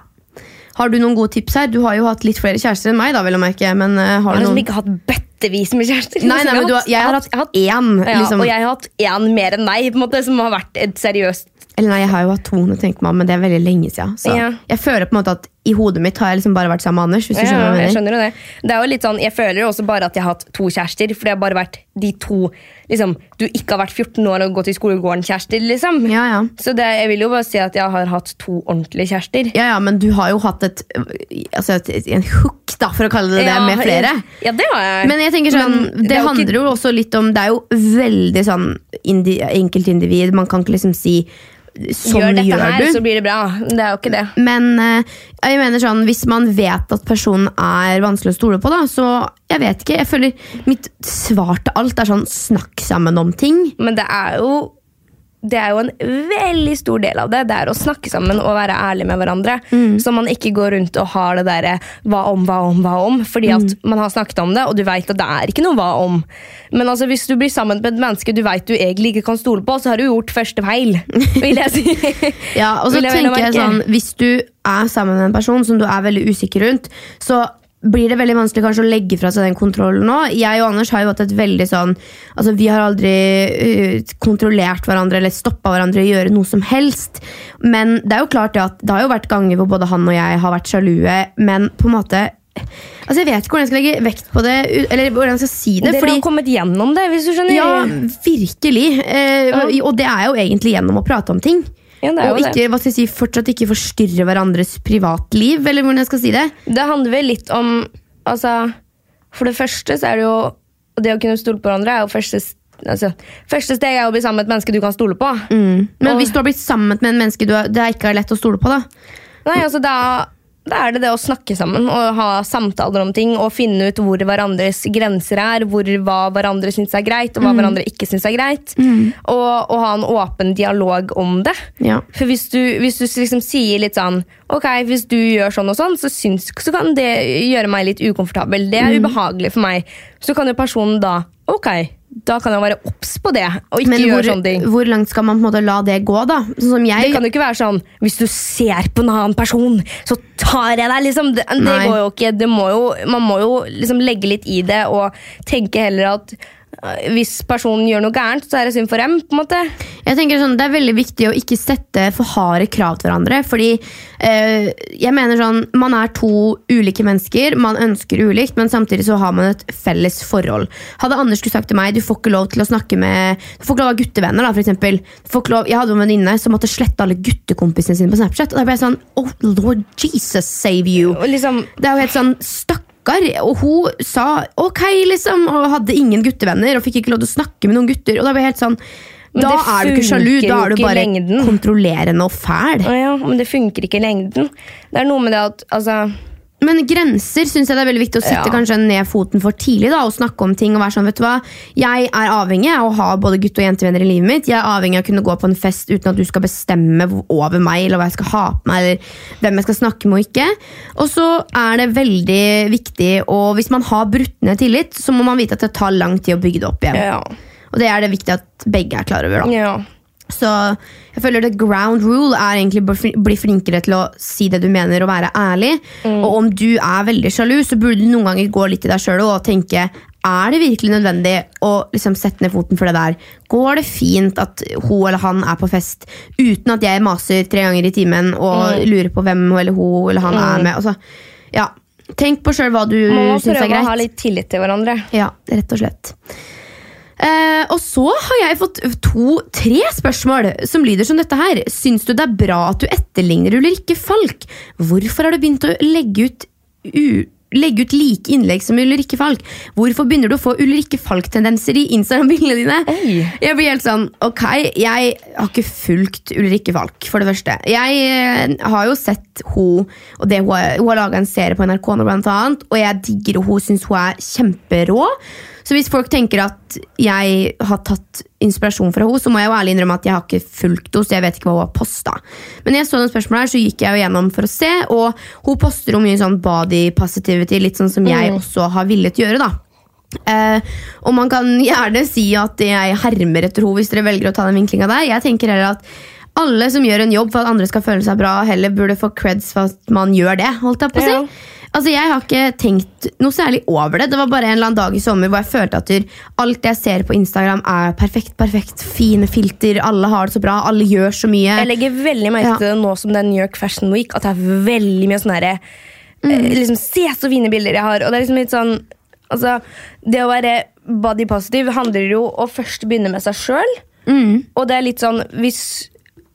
Har du noen gode tips her? Du har jo hatt litt flere kjærester enn meg, da, vel å merke. Men eh, Jeg har har du liksom noen ikke hatt bøttevis med kjærester. Nei, nei, Liksom, men du har, jeg har jeg hatt én, ja, liksom. Og jeg har hatt én mer enn deg, på en måte, som har vært et seriøst Eller nei, jeg har jo hatt to, nå tenkte meg om, men det er veldig lenge siden. Så Ja. jeg føler på en måte at i hodet mitt har jeg liksom bare vært sammen med Anders. hvis du skjønner Ja, hva jeg jeg mener. skjønner jo det. Det er jo litt sånn, jeg føler jo også bare at jeg har hatt to kjærester, for det har bare vært de to liksom, du ikke har vært 14 år og gått i skolegården-kjærester. liksom. Ja, ja. Så det, jeg vil jo bare si at jeg har hatt to ordentlige kjærester. Ja, ja, men du har jo hatt et, altså et, et, en hook, da, for å kalle det det, Ja, med flere. Ja, det har jeg. Men jeg tenker sånn, Men det, det er jo handler jo også litt om Det er jo veldig sånn indi, enkeltindivid. Man kan ikke liksom si sånn gjør gjør, dette her, du. så blir det bra. Det er jo ikke det. Men eh, jeg mener sånn, hvis man vet at personen er vanskelig å stole på, da, så jeg vet ikke. jeg føler Mitt svar til alt er sånn snakk sammen om ting. Men det er jo det er jo en veldig stor del av det. Det er å snakke sammen og være ærlig med hverandre. Mm. Så man ikke går rundt og har det derre hva om, hva om, hva om. Fordi at Mm. man har snakket om det, og du veit at det er ikke noe hva om. Men altså, hvis du blir sammen med et menneske du veit du egentlig ikke kan stole på, så har du gjort første feil, vil jeg si. Ja, og så Vil jeg vel å tenker jeg merke. sånn Hvis du er sammen med en person som du er veldig usikker rundt, så blir det veldig vanskelig kanskje å legge fra seg den kontrollen nå. Jeg og Anders har jo hatt et veldig sånn Altså Vi har aldri eh, kontrollert hverandre eller stoppa hverandre i å gjøre noe som helst. Men det er jo klart det at det har jo vært ganger hvor både han og jeg har vært sjalue, men på en måte Altså Jeg vet ikke hvordan jeg skal legge vekt på det, u- eller hvordan jeg skal si det. Dere fordi har kommet gjennom det, hvis du skjønner. ja, virkelig. Eh, Og det er jo egentlig gjennom å prate om ting. Ja, det er og jo det. ikke, hva skal jeg si, fortsatt ikke forstyrre hverandres privatliv, eller hvordan jeg skal si det. Det handler vel litt om altså, For det første så er det jo Det å kunne stole på hverandre er jo første s- altså, Første steg er å bli sammen med et menneske du kan stole på. Men Mm. Og- hvis du har blitt sammen med en menneske du er, det er ikke er lett å stole på, da. Nei, altså da, da er det det å snakke sammen og ha samtaler om ting og finne ut hvor hverandres grenser er, hvor, hva hverandre syns er greit og hva hverandre ikke syns er greit. Og, og ha en åpen dialog om det. Ja. For hvis du, hvis du liksom sier litt sånn Ok, hvis du gjør sånn og sånn, så, syns, så kan det gjøre meg litt ukomfortabel. Det Mm. er ubehagelig for meg. Så kan jo personen da Ok, da kan jeg være obs på det og ikke Men gjøre hvor, sånne ting. hvor langt skal man på en måte la det gå, da? Sånn som Det jeg. kan jo ikke være sånn Hvis du ser på en annen person, så tar jeg deg! liksom Det, det Nei. går jo ikke. Det må jo, man må jo liksom legge litt i det og tenke heller at øh, hvis personen gjør noe gærent, så er det synd for dem. på en måte Jeg tenker sånn, Det er veldig viktig å ikke sette for harde krav til hverandre. Fordi eh, jeg mener sånn, Man er to ulike mennesker, man ønsker ulikt, men samtidig så har man et felles forhold. Hadde Anders skulle sagt til meg du får ikke lov til å snakke med Du får ikke lov å ha guttevenner. da, for eksempel. du får ikke lov, Jeg hadde en venninne som måtte slette alle guttekompisene sine på Snapchat. Og da ble jeg sånn Oh lord Jesus, save you! Og liksom Det er jo helt sånn stakkar. Og hun sa ok, liksom, og hadde ingen guttevenner og fikk ikke lov til å snakke med noen gutter. Og da ble jeg helt sånn Men da det er du ikke sjalu, funker da jo er du ikke i bare lengden. kontrollerende og fæl. Å ja, men det funker ikke i lengden. Det er noe med det at altså, Men grenser syns jeg det er veldig viktig å sette Ja. kanskje ned foten for tidlig. da, Og snakke om ting og være sånn, vet du hva Jeg er avhengig av å ha både gutt- og jentevenner i livet mitt. Jeg er avhengig av å kunne gå på en fest uten at du skal bestemme hvor- over meg eller hva jeg skal ha på meg. eller hvem jeg skal snakke med Og ikke. Og så er det veldig viktig, og hvis man har brutt ned tillit, så må man vite at det tar lang tid å bygge det opp igjen. ja, Og det er det viktig at begge er klar over. da ja. Så jeg føler the ground rule er egentlig å bli- bli flinkere til å si det du mener og være ærlig. Mm. Og om du er veldig sjalu, så burde du noen ganger gå litt i deg sjøl og tenke er det virkelig nødvendig å liksom sette ned foten for det der? Går det fint at hun eller han er på fest uten at jeg maser tre ganger i timen Mm. og lurer på hvem hun eller hun eller han er med? Altså, ja. Tenk på sjøl hva du Man må syns Mm, er prøve å greit. ha litt tillit til hverandre. Ja, rett og slett. Eh, og så har jeg fått to-tre spørsmål som lyder som dette her. Syns du det er bra at du etterligner Ulrikke Falk? Hvorfor har du begynt å legge ut u legge ut like innlegg som Ulrikke Falk? Hvorfor begynner du å få Ulrikke Falk-tendenser i Instagram-bildene dine? Oi. Jeg blir helt sånn, ok, jeg har ikke fulgt Ulrikke Falk, for det første. Jeg eh, har jo sett hun, og det hun, har- hun har laget en serie på NRK nå, blant annet, og jeg digger hun, synes hun er kjemperå. Så hvis folk tenker at jeg har tatt inspirasjon fra henne, så må jeg jo ærlig innrømme at jeg har ikke fulgt henne, så jeg vet ikke hva hun har posta. Men jeg så noen spørsmål her, så gikk jeg jo gjennom for å se, og hun poster jo mye sånn body positivity, litt sånn som jeg også har villet gjøre, da. Eh, og man kan gjerne si at jeg hermer etter henne hvis dere velger å ta den vinklinga der. Jeg tenker heller at alle som gjør en jobb for at andre skal føle seg bra, heller burde få creds for at man gjør det. holdt jeg på å si. Ja. Altså, Jeg har ikke tenkt noe særlig over det. Det var bare en eller annen dag i sommer hvor jeg følte at der- alt jeg ser på Instagram, er perfekt. perfekt, Fine filter, alle har det så bra, alle gjør så mye. Jeg legger veldig merke Ja. til det nå som det er New York Fashion Week, at det er veldig mye sånn herre eh, Mm. liksom, Se så fine bilder jeg har! Og det er liksom litt sånn Altså, det å være body positive handler jo å først begynne med seg sjøl. Mm. Og det er litt sånn hvis,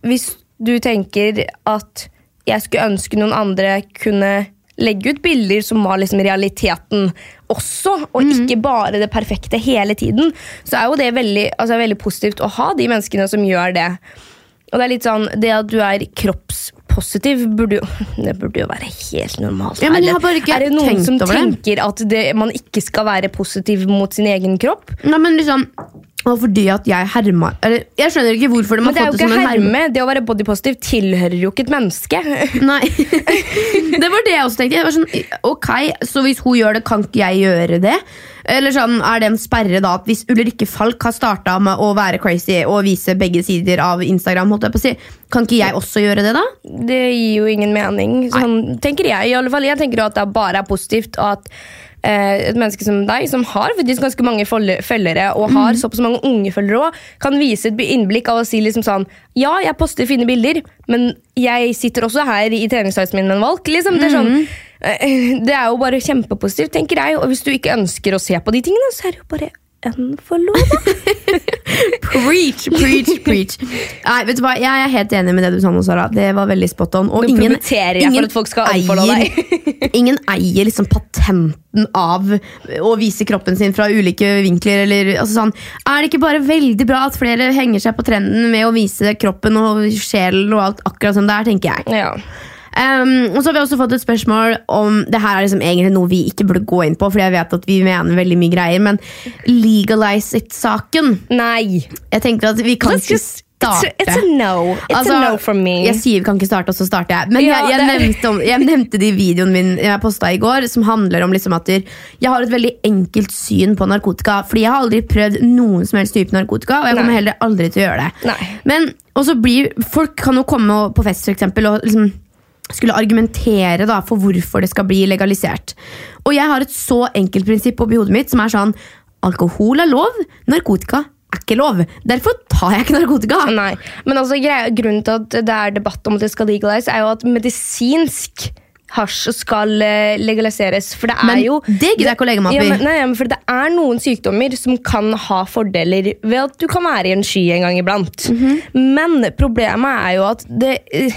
hvis du tenker at jeg skulle ønske noen andre kunne legge ut bilder som var liksom realiteten også, og Mm. ikke bare det perfekte hele tiden, så er jo det veldig, altså veldig positivt å ha de menneskene som gjør det. Og det er litt sånn, det at du er kroppspositiv, burde jo, det burde jo være helt normalt. Ja, men jeg Erlend. har bare ikke er det noen tenkt som over det. tenker at det, man ikke skal være positiv mot sin egen kropp? Nei, men liksom, og fordi at jeg herma eller, Jeg skjønner ikke hvorfor de har Men det er fått jo det som ikke en herme. herme. Det å være bodypositiv tilhører jo ikke et menneske. Nei. det var det jeg også tenkte. Jeg var sånn, ok, Så hvis hun gjør det, kan ikke jeg gjøre det? Eller sånn, Er det en sperre da at hvis Ulrikke Falk har starta med å være crazy og vise begge sider av Instagram, holdt jeg på å si, kan ikke jeg også gjøre det, da? Det gir jo ingen mening. Sånn tenker jeg. i alle fall. Jeg tenker at det bare er positivt at eh, et menneske som deg, som har faktisk ganske mange folde- følgere, og har såpass mange unge følgere òg, kan vise et innblikk av å si liksom sånn Ja, jeg poster fine bilder, men jeg sitter også her i treningstighten min med en valk. Liksom. Det, er sånn, eh, det er jo bare kjempepositivt, tenker jeg. Og hvis du ikke ønsker å se på de tingene, så er det jo bare en forlova. Preach, preach, preach. Nei, vet du hva, Jeg er helt enig med det du sa nå, Sara. Det var veldig spot on. Og Nå ingen, promoterer jeg for at folk skal unfollow eier, ingen eier liksom patenten av å vise kroppen sin fra ulike vinkler. Eller, altså sånn, er det ikke bare veldig bra at flere henger seg på trenden med å vise kroppen og sjelen og alt akkurat som det er, tenker jeg. ja. Um, og så har vi også fått et spørsmål om Det her er liksom egentlig noe vi ikke burde gå inn på, Fordi jeg vet at vi mener veldig mye greier, men legalize it-saken. Nei. Jeg tenker at vi kan Let's ikke just- It's starte a, it's a no. It's a no from me. Altså, Jeg sier vi kan ikke starte, og så starter jeg. Men Ja, jeg, jeg, det- nevnte om, jeg nevnte det i videoen min jeg posta i går, som handler om liksom at jeg har et veldig enkelt syn på narkotika. Fordi jeg har aldri prøvd noen som helst type narkotika, og jeg kommer Nei. heller aldri til å gjøre det. Nei. Men og så blir, Folk kan jo komme og- på fest for eksempel, og liksom skulle argumentere da, for hvorfor det skal bli legalisert. Og jeg har et så enkelt prinsipp oppi hodet mitt som er sånn Alkohol er lov, narkotika er ikke lov. Derfor tar jeg ikke narkotika. Nei, men altså greia, Grunnen til at det er debatt om at det skal legalises, er jo at medisinsk hasj skal eh, legaliseres. For det er Men jo det gidder jeg ikke å legge meg opp ja, i. men, nei, ja, men for det er noen sykdommer som kan ha fordeler ved at du kan være i en sky en gang iblant. Mhm. Men problemet er jo at det eh,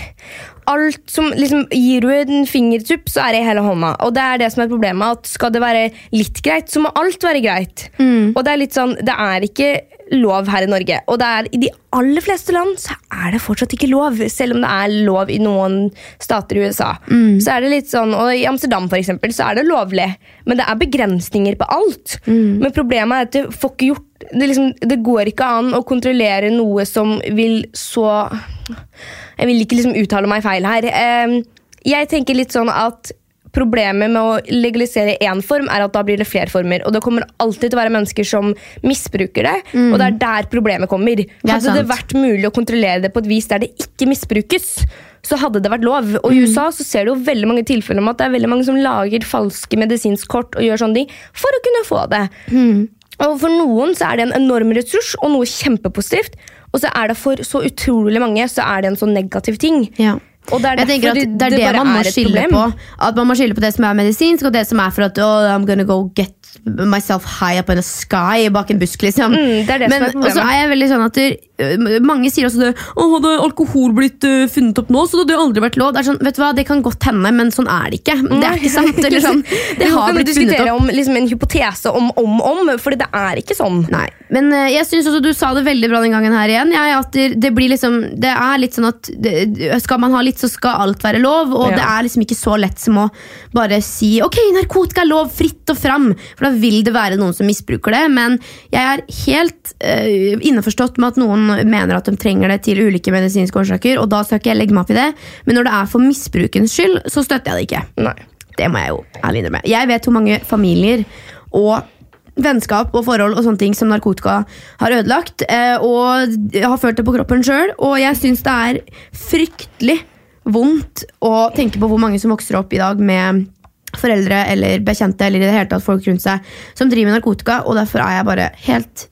Alt som liksom, Gir du en fingertupp, så er det i hele hånda. Og det er det som er problemet. At skal det være litt greit, så må alt være greit. Mm. Og det er litt sånn Det er ikke lov her i Norge. Og det er, i de aller fleste land så er det fortsatt ikke lov. Selv om det er lov i noen stater i USA. Så er det litt sånn, og I Amsterdam for eksempel, så er det lovlig, men det er begrensninger på alt. Men problemet er at du får ikke gjort det, liksom, det går ikke an å kontrollere noe som vil så Jeg vil ikke liksom uttale meg feil her. Eh, Jeg tenker litt sånn at Problemet med å legalisere én form er at da blir det flere former. Og det kommer alltid til å være mennesker som misbruker det, og det er der problemet kommer. er Hadde det sant. vært mulig å kontrollere det på et vis der det ikke misbrukes, så hadde det vært lov. Og Mm. i USA så ser du jo veldig mange tilfeller om at det er veldig mange som lager falske medisinskort og gjør sånne ting for å kunne få det. Mm. Og for noen så er det en enorm ressurs og noe kjempepositivt. Og så er det for så utrolig mange så er det en sånn negativ ting. Ja. Og det er jeg tenker derfor at det, det- er det det bare man må er et skille problem. på. At man må skille på det som er medisinsk, og det som er for at oh, I'm gonna go get myself high up in the sky bak en busk, liksom. Mm, det er det som Men, er problemet. og så er jeg veldig sånn at det, øh, Mange sier også det Å, hadde alkohol blitt øh, funnet opp nå, så hadde det aldri vært lov. Det er sånn, vet du hva, det kan godt hende, men sånn er det ikke. Det er ikke sant. Eller sånn, det Mm. Vi har kan blitt funnet diskutere opp. om liksom, en hypotese om om om, fordi det er ikke sånn. Nei, men øh, jeg synes også du sa det veldig bra den gangen her igjen. Jeg, at det, det blir liksom Det er litt sånn at det, Skal man ha litt, så skal alt være lov. Og Ja. det er liksom ikke så lett som å bare si Ok, narkotika er lov, fritt og fram. For da vil det være noen som misbruker det. Men jeg er helt øh, innforstått med at noen mener at de trenger det til ulike medisinske årsaker. Og da skal ikke jeg legge meg opp i det. Men når det er for misbrukens skyld, så støtter jeg det ikke. Nei. Det må jeg jo ærlig innrømme. Jeg vet hvor mange familier og vennskap og forhold og sånne ting som narkotika har ødelagt. eh, Og jeg har følt det på kroppen sjøl. Og jeg syns det er fryktelig vondt å tenke på hvor mange som vokser opp i dag med foreldre eller bekjente eller i det hele tatt folk rundt seg som driver med narkotika, og derfor er jeg bare helt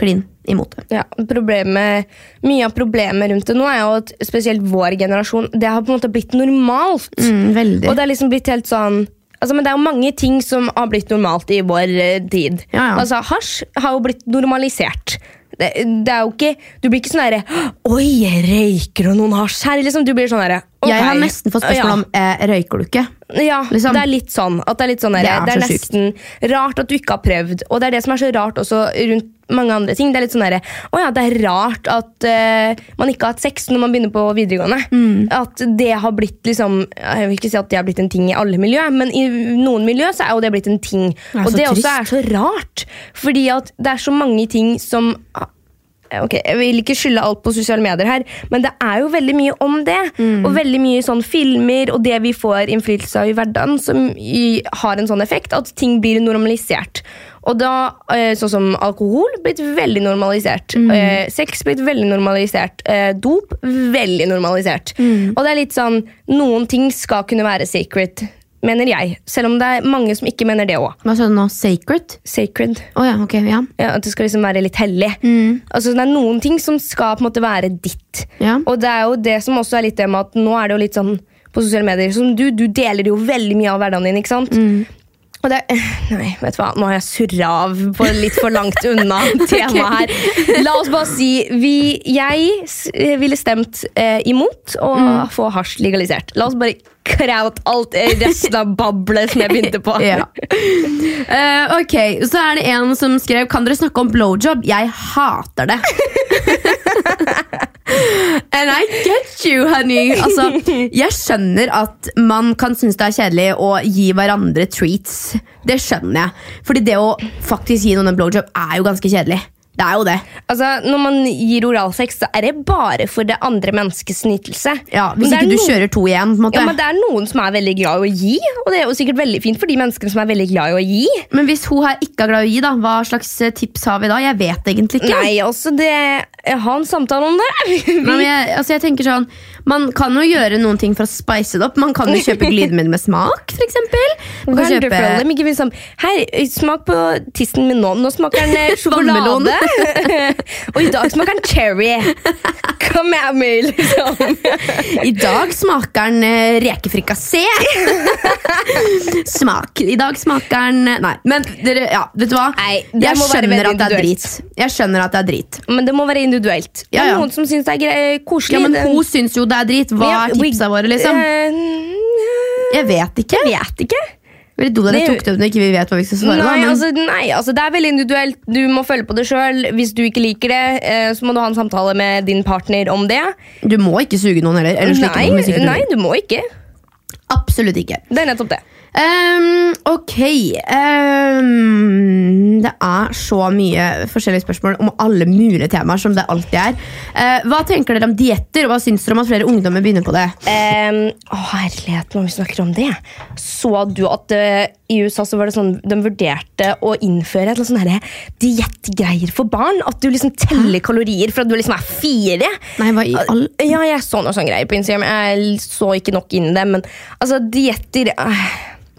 klin imot det. Ja, problemet, Mye av problemet rundt det nå er jo at spesielt vår generasjon Det har på en måte blitt normalt. Mm, veldig. Og det er liksom blitt helt sånn Altså, men det er jo mange ting som har blitt normalt i vår eh, tid. Ja, ja. Altså, Hasj har jo blitt normalisert. Det, det er jo ikke, Du blir ikke sånn herre Oi, jeg røyker og noen hasj her? Liksom, du blir sånn herre Jeg har nesten fått spørsmål om eh, røyker du ikke. ja, Liksom. det er litt sånn. At det er litt sånn der, Det det er er, så sykt. nesten rart at du ikke har prøvd. Og det er det som er så rart også rundt mange andre ting. Det er litt sånn der, å ja, det er rart at eh, man ikke har hatt sex når man begynner på videregående. Mm. At det har blitt liksom Jeg vil ikke si at det har blitt en ting i alle miljø, men i noen miljø så er jo det blitt en ting. Det er så og det trist. også er så rart. Fordi at det er så mange ting som Ok, Jeg vil ikke skylde alt på sosiale medier, her, men det er jo veldig mye om det. Og veldig mye sånn filmer og det vi får innflytelse av i hverdagen, som i, har en sånn effekt at ting blir normalisert. Og da, eh, Sånn som alkohol blitt veldig normalisert. Eh, sex blitt veldig normalisert. Eh, dop veldig normalisert. Og det er litt sånn Noen ting skal kunne være sacred, mener jeg. Selv om det er mange som ikke mener det òg. Hva sa du nå? Sacred? Sacred. Å ja, ok. Ja. Ja, at det skal liksom være litt hellig. Altså, det er noen ting som skal på en måte være ditt. Ja. Og det er jo det som også er litt det med at nå er det jo litt sånn på sosiale medier som du, du deler jo veldig mye av hverdagen din, ikke sant? Og det er, nei, vet du hva, nå har jeg surra av på litt for langt unna temaet her. La oss bare si vi, Jeg s- ville stemt eh, imot å få hasj legalisert. La oss bare kreve ut alt eh, resten av bablet som jeg begynte på. Ja. Eh, ok, så er det en som skrev Kan dere snakke om blowjob? Jeg hater det. And I get you, honey. Altså, jeg skjønner at man kan synes det er kjedelig å gi hverandre treats. Det skjønner jeg. Fordi det å faktisk gi noen en blowjob er jo ganske kjedelig. Det er jo det. Altså, Når man gir oralsex, så er det bare for det andre menneskets nytelse. Ja, Men hvis det er ikke du noen- kjører to igjen. På en måte. ja, men Det er noen som er veldig glad i å gi, og det er jo sikkert veldig fint for de menneskene som er veldig glad i å gi. men hvis hun her ikke er glad i å gi, da, hva slags eh, tips har vi da? Jeg vet egentlig ikke. Nei, altså, det Ha en samtale om det. Nei, men jeg, altså jeg tenker sånn Man kan jo gjøre noen ting for å spice det opp. Man kan jo kjøpe glidemiddel med smak, f.eks. Man kan Wonderful, kjøpe dem ikke minst sånn, Hei, smak på tissen min nå. Nå smaker den eh, Vannmelon. sjokolade. og i dag smaker den cherry. Kom her, meg, liksom. I dag smaker den eh, rekefrikassé! Smak. I dag smaker den eh, Nei, men dere, ja, vet du hva? Nei, det jeg må være skjønner veldig at det er individuelt. drit. Jeg skjønner at det er drit. Men det må være individuelt. Det Ja, er ja. Noen som syns det er grei, koselig. Ja, Men det- hun syns jo det er drit. Hva Ja, er we- tipsa våre, liksom? Eh, Jeg vet ikke. Jeg vet ikke. Veldig dumt at jeg Det- tok det opp når ikke vi vet hva vi skal svare. da, Nei, men- altså, nei altså, det er veldig individuelt. Du må følge på det sjøl. Hvis du ikke liker det, eh, så må du ha en samtale med din partner om det. Du må ikke suge noen heller. Eller slikke altså- Nei, noen. hvis ikke du nei, vil. du må ikke. Absolutt ikke. Det er nettopp det. Ehm, ok Ehm, Det er så mye forskjellige spørsmål om alle mulige temaer som det alltid er. Eh, hva tenker dere om dietter, og hva syns dere om at flere ungdommer begynner på det? Ehm, å, herlighet, når vi snakker om det. Så du at eh, i USA så var det sånn de vurderte å innføre et sånn herre diettgreier for barn? At du liksom teller kalorier fra du liksom er fire? Nei, hva i all Ja, jeg så noe sånn greier på Instagram. Jeg så ikke nok inn i det, men altså, dietter eh.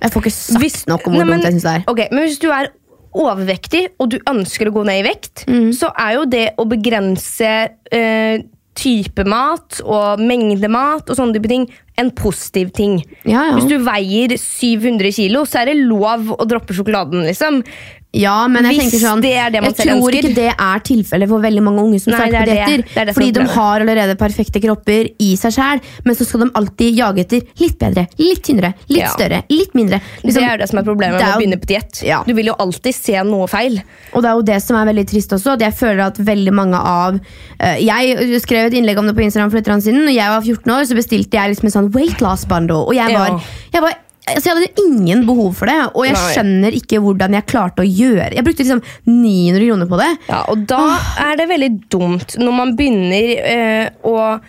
Jeg får ikke sagt Hvis- nok om hvor Nei, men- dumt jeg syns det er. Ok, men hvis du er overvektig, og du ønsker å gå ned i vekt, Mm. så er jo det å begrense eh, type mat og mengde mat og sånne type ting en positiv ting. Ja, ja. Hvis du veier 700 kilo, så er det lov å droppe sjokoladen, liksom. Ja, men jeg Hvis tenker sånn det er det man Jeg selv tror ønsker. ikke det er tilfellet for veldig mange unge som Nei, starter på det er det. dietter. Det er det som Fordi er de problemet. har allerede perfekte kropper i seg sjæl, men så skal de alltid jage etter litt bedre, litt tynnere, litt Ja. større, litt mindre. Liksom, det er jo det som er problemet det med er å jo- begynne på diett. Ja. Du vil jo alltid se noe feil. Og det er jo det som er veldig trist også, at jeg føler at veldig mange av eh, Jeg skrev et innlegg om det på Instagram for litt grann siden. Når jeg var 14 år, så bestilte jeg liksom en sånn weight loss bundle. Og jeg var, Ja. jeg var Altså, jeg hadde ingen behov for det, og jeg Nei. skjønner ikke hvordan jeg klarte å gjøre Jeg brukte liksom 900 kroner på det. Ja, og da Ah. er det veldig dumt når man begynner eh, å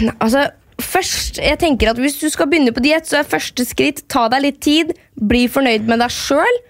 Nei, Altså, først Jeg tenker at hvis du skal begynne på diett, så er første skritt ta deg litt tid, bli fornøyd med deg sjøl.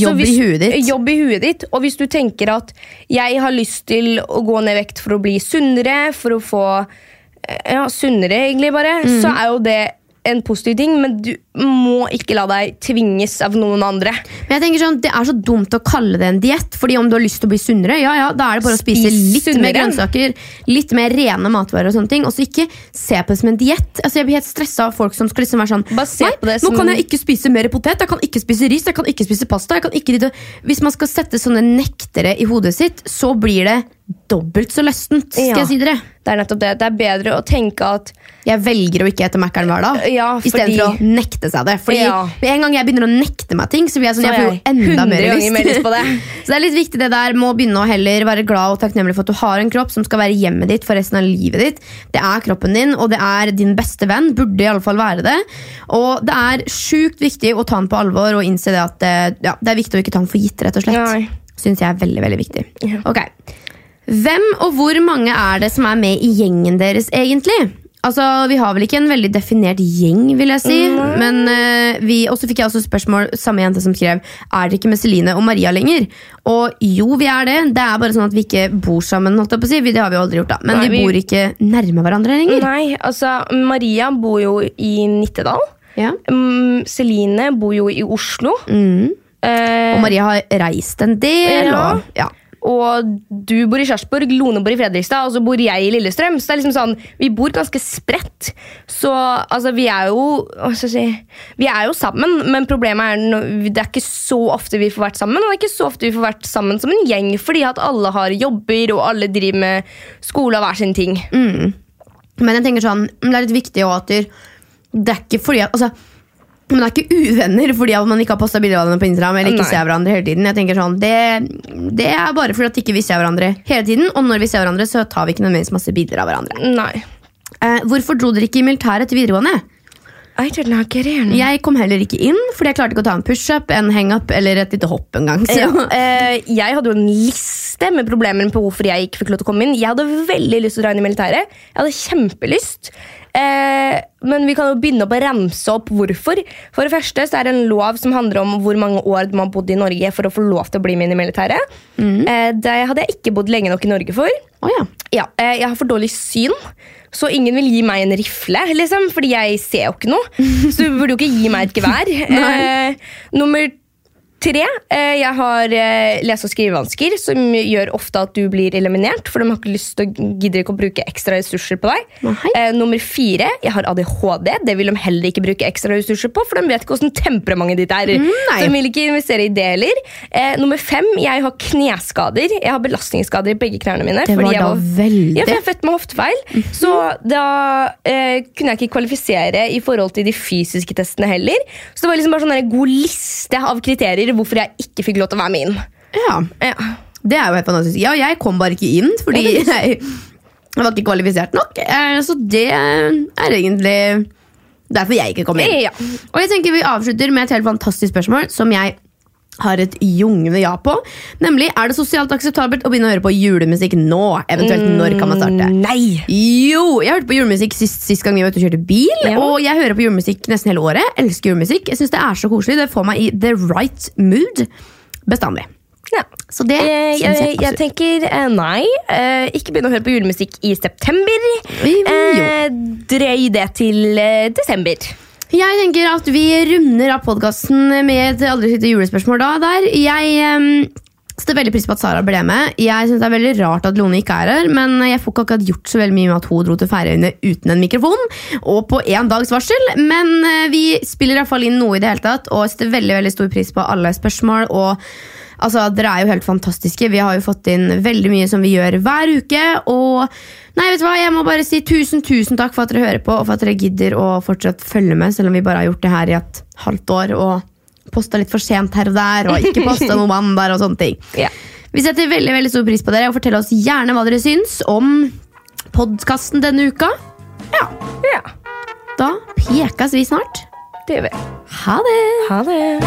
Jobb i huet ditt. Jobb i huet ditt. Og hvis du tenker at jeg har lyst til å gå ned i vekt for å bli sunnere, for å få eh, ja, sunnere egentlig bare, Mm. så er jo det en positiv ting, men du må ikke la deg tvinges av noen andre. Men jeg tenker sånn, Det er så dumt å kalle det en diett, Fordi om du har lyst til å bli sunnere, ja, ja, da er det bare å spise Spis litt mer sunnere. grønnsaker, litt mer rene matvarer og sånne ting. Og så ikke se på det som en diett. Altså, jeg blir helt stressa av folk som skal liksom være sånn Bare se på det som- Nå kan jeg ikke spise mer potet, jeg kan ikke spise ris, jeg kan ikke spise pasta. Jeg kan ikke ditt og- Hvis man skal sette sånne nektere i hodet sitt, så blir det dobbelt så løstent. Skal Ja. jeg si dere Det er nettopp det. Det er bedre å tenke at jeg velger å ikke ete Mækkern hver dag, Ja, fordi- istedenfor å nekte seg det. Fordi Ja. Med en gang jeg begynner å nekte meg ting, så blir jeg sånn, Så jeg får jo er jeg enda 100 mer ganger lyst. mer lyst på det. så det er litt viktig det der med å begynne å heller være glad og takknemlig for at du har en kropp som skal være hjemmet ditt for resten av livet ditt. Det er kroppen din, og det er din beste venn. Burde i alle fall være det. Og det er sjukt viktig å ta den på alvor og innse det at eh, ja, det er viktig å ikke ta den for gitt, rett og Nei. slett. Syns jeg er veldig, veldig viktig. Ok, hvem og hvor mange er det som er med i gjengen deres, egentlig? Altså, Vi har vel ikke en veldig definert gjeng, vil jeg si. Mm. Men eh, vi, Og så fikk jeg også spørsmål, samme jente som skrev Er dere ikke med Celine og Maria lenger. Og jo, vi er det. Det er bare sånn at vi ikke bor sammen. Holdt jeg på å si. Vi- Det har vi jo aldri gjort, da. Men Nei, vi, vi- bor ikke nærme hverandre lenger. Nei, altså Maria bor jo i Nittedal. Ja. Mm, Celine bor jo i Oslo. Og Eh, Maria har reist en del. Ja. Og, ja. og du bor i Sarpsborg, Lone bor i Fredrikstad, og så bor jeg i Lillestrøm. Så det er liksom sånn, vi bor ganske spredt. Så altså, vi er jo hva skal jeg si, Vi er jo sammen, men problemet er no- det er ikke så ofte vi får vært sammen. Og det er ikke så ofte vi får vært sammen som en gjeng, fordi at alle har jobber, og alle driver med skole og hver sin ting. Men jeg tenker sånn, men det er litt viktig også at du- det er ikke fordi at, altså, man er ikke uvenner fordi at man ikke har posta bilder av hverandre på Instagram. eller ikke Nei. ser hverandre hele tiden. Jeg tenker sånn, det, det er bare fordi at ikke vi ikke ser hverandre hele tiden. Og når vi ser hverandre, så tar vi ikke nødvendigvis masse bilder av hverandre. Nei. Eh, hvorfor dro dere ikke i militæret til videregående? I don't know, Karen. Jeg kom heller ikke inn, fordi jeg klarte ikke å ta en pushup, en hangup eller et lite hopp engang. Ja, Så. eh, jeg hadde jo en liste med problemer på hvorfor jeg ikke fikk lov til å komme inn. Jeg hadde veldig lyst til å dra inn i militæret. Jeg hadde kjempelyst. Eh, men vi kan jo begynne opp å ramse opp hvorfor. For det første så er det en lov som handler om hvor mange år man har bodd i Norge for å få lov til å bli med inn i militæret. Eh, det hadde jeg ikke bodd lenge nok i Norge for. Å ja. Ja, eh, jeg har for dårlig syn, så ingen vil gi meg en rifle, liksom, fordi jeg ser jo ikke noe. Så du burde jo ikke gi meg et gevær. eh, nummer tre, eh, jeg har eh, lese- og skrivevansker, som gjør ofte at du blir eliminert, for de har ikke lyst til å gidder ikke å bruke ekstra ressurser på deg. Nei. Eh, nummer fire, jeg har ADHD, det vil de heller ikke bruke ekstra ressurser på, for de vet ikke hvordan temperamentet ditt er. Mm, nei. Så de vil ikke investere i det heller. Eh, nummer fem, jeg har kneskader, jeg har belastningsskader i begge knærne mine. Det fordi var jeg da veldig- Mhm. Ja, for jeg er født med hoftefeil. Så da eh, kunne jeg ikke kvalifisere i forhold til de fysiske testene heller. Så det var liksom bare sånn der god liste av kriterier hvorfor jeg ikke fikk lov til å være med inn. ja. Ja. Det er jo helt fantastisk. Ja, jeg kom bare ikke inn fordi jeg, jeg var ikke kvalifisert nok. Eh, Så det er egentlig derfor jeg ikke kom inn. Ja. Og jeg tenker Vi avslutter med et helt fantastisk spørsmål som jeg har et jungende ja på. Nemlig er det sosialt akseptabelt å begynne å høre på julemusikk nå? Eventuelt når kan man Mm. starte? Nei! Jo, jeg hørte på julemusikk sist, sist gang vi var ute og kjørte bil. Ja. Og jeg hører på julemusikk nesten hele året. Elsker julemusikk. Jeg synes Det er så koselig. Det får meg i the right mood bestandig. Ja. Så det Eh, synes jeg, jeg jeg absolutt. tenker eh, nei. Eh, ikke begynn å høre på julemusikk i september. Jo. Eh, drøy det til eh, desember. Jeg tenker at vi runder av podkasten med et aldri siste julespørsmål da. Der. Jeg em, Setter veldig pris på at Sara ble med. Jeg synes Det er veldig rart at Lone ikke er her, men jeg får ikke akkurat gjort så veldig mye med at hun dro til Færøyene uten en mikrofon og på én dags varsel. Men eh, vi spiller i hvert fall inn noe i det hele tatt, og setter veldig veldig stor pris på alle spørsmål. og altså, Dere er jo helt fantastiske. Vi har jo fått inn veldig mye som vi gjør hver uke. Og nei, vet du hva, jeg må bare si tusen tusen takk for at dere hører på og for at dere gidder å fortsatt følge med, selv om vi bare har gjort det her i et halvt år. og posta litt for sent her og der, og ikke posta noe mandag og sånne ting. Ja. Vi setter veldig veldig stor pris på dere, og fortell oss gjerne hva dere syns om podkasten denne uka. Ja, Ja, Da pekes vi snart. det gjør vi. Ha det! Ha det.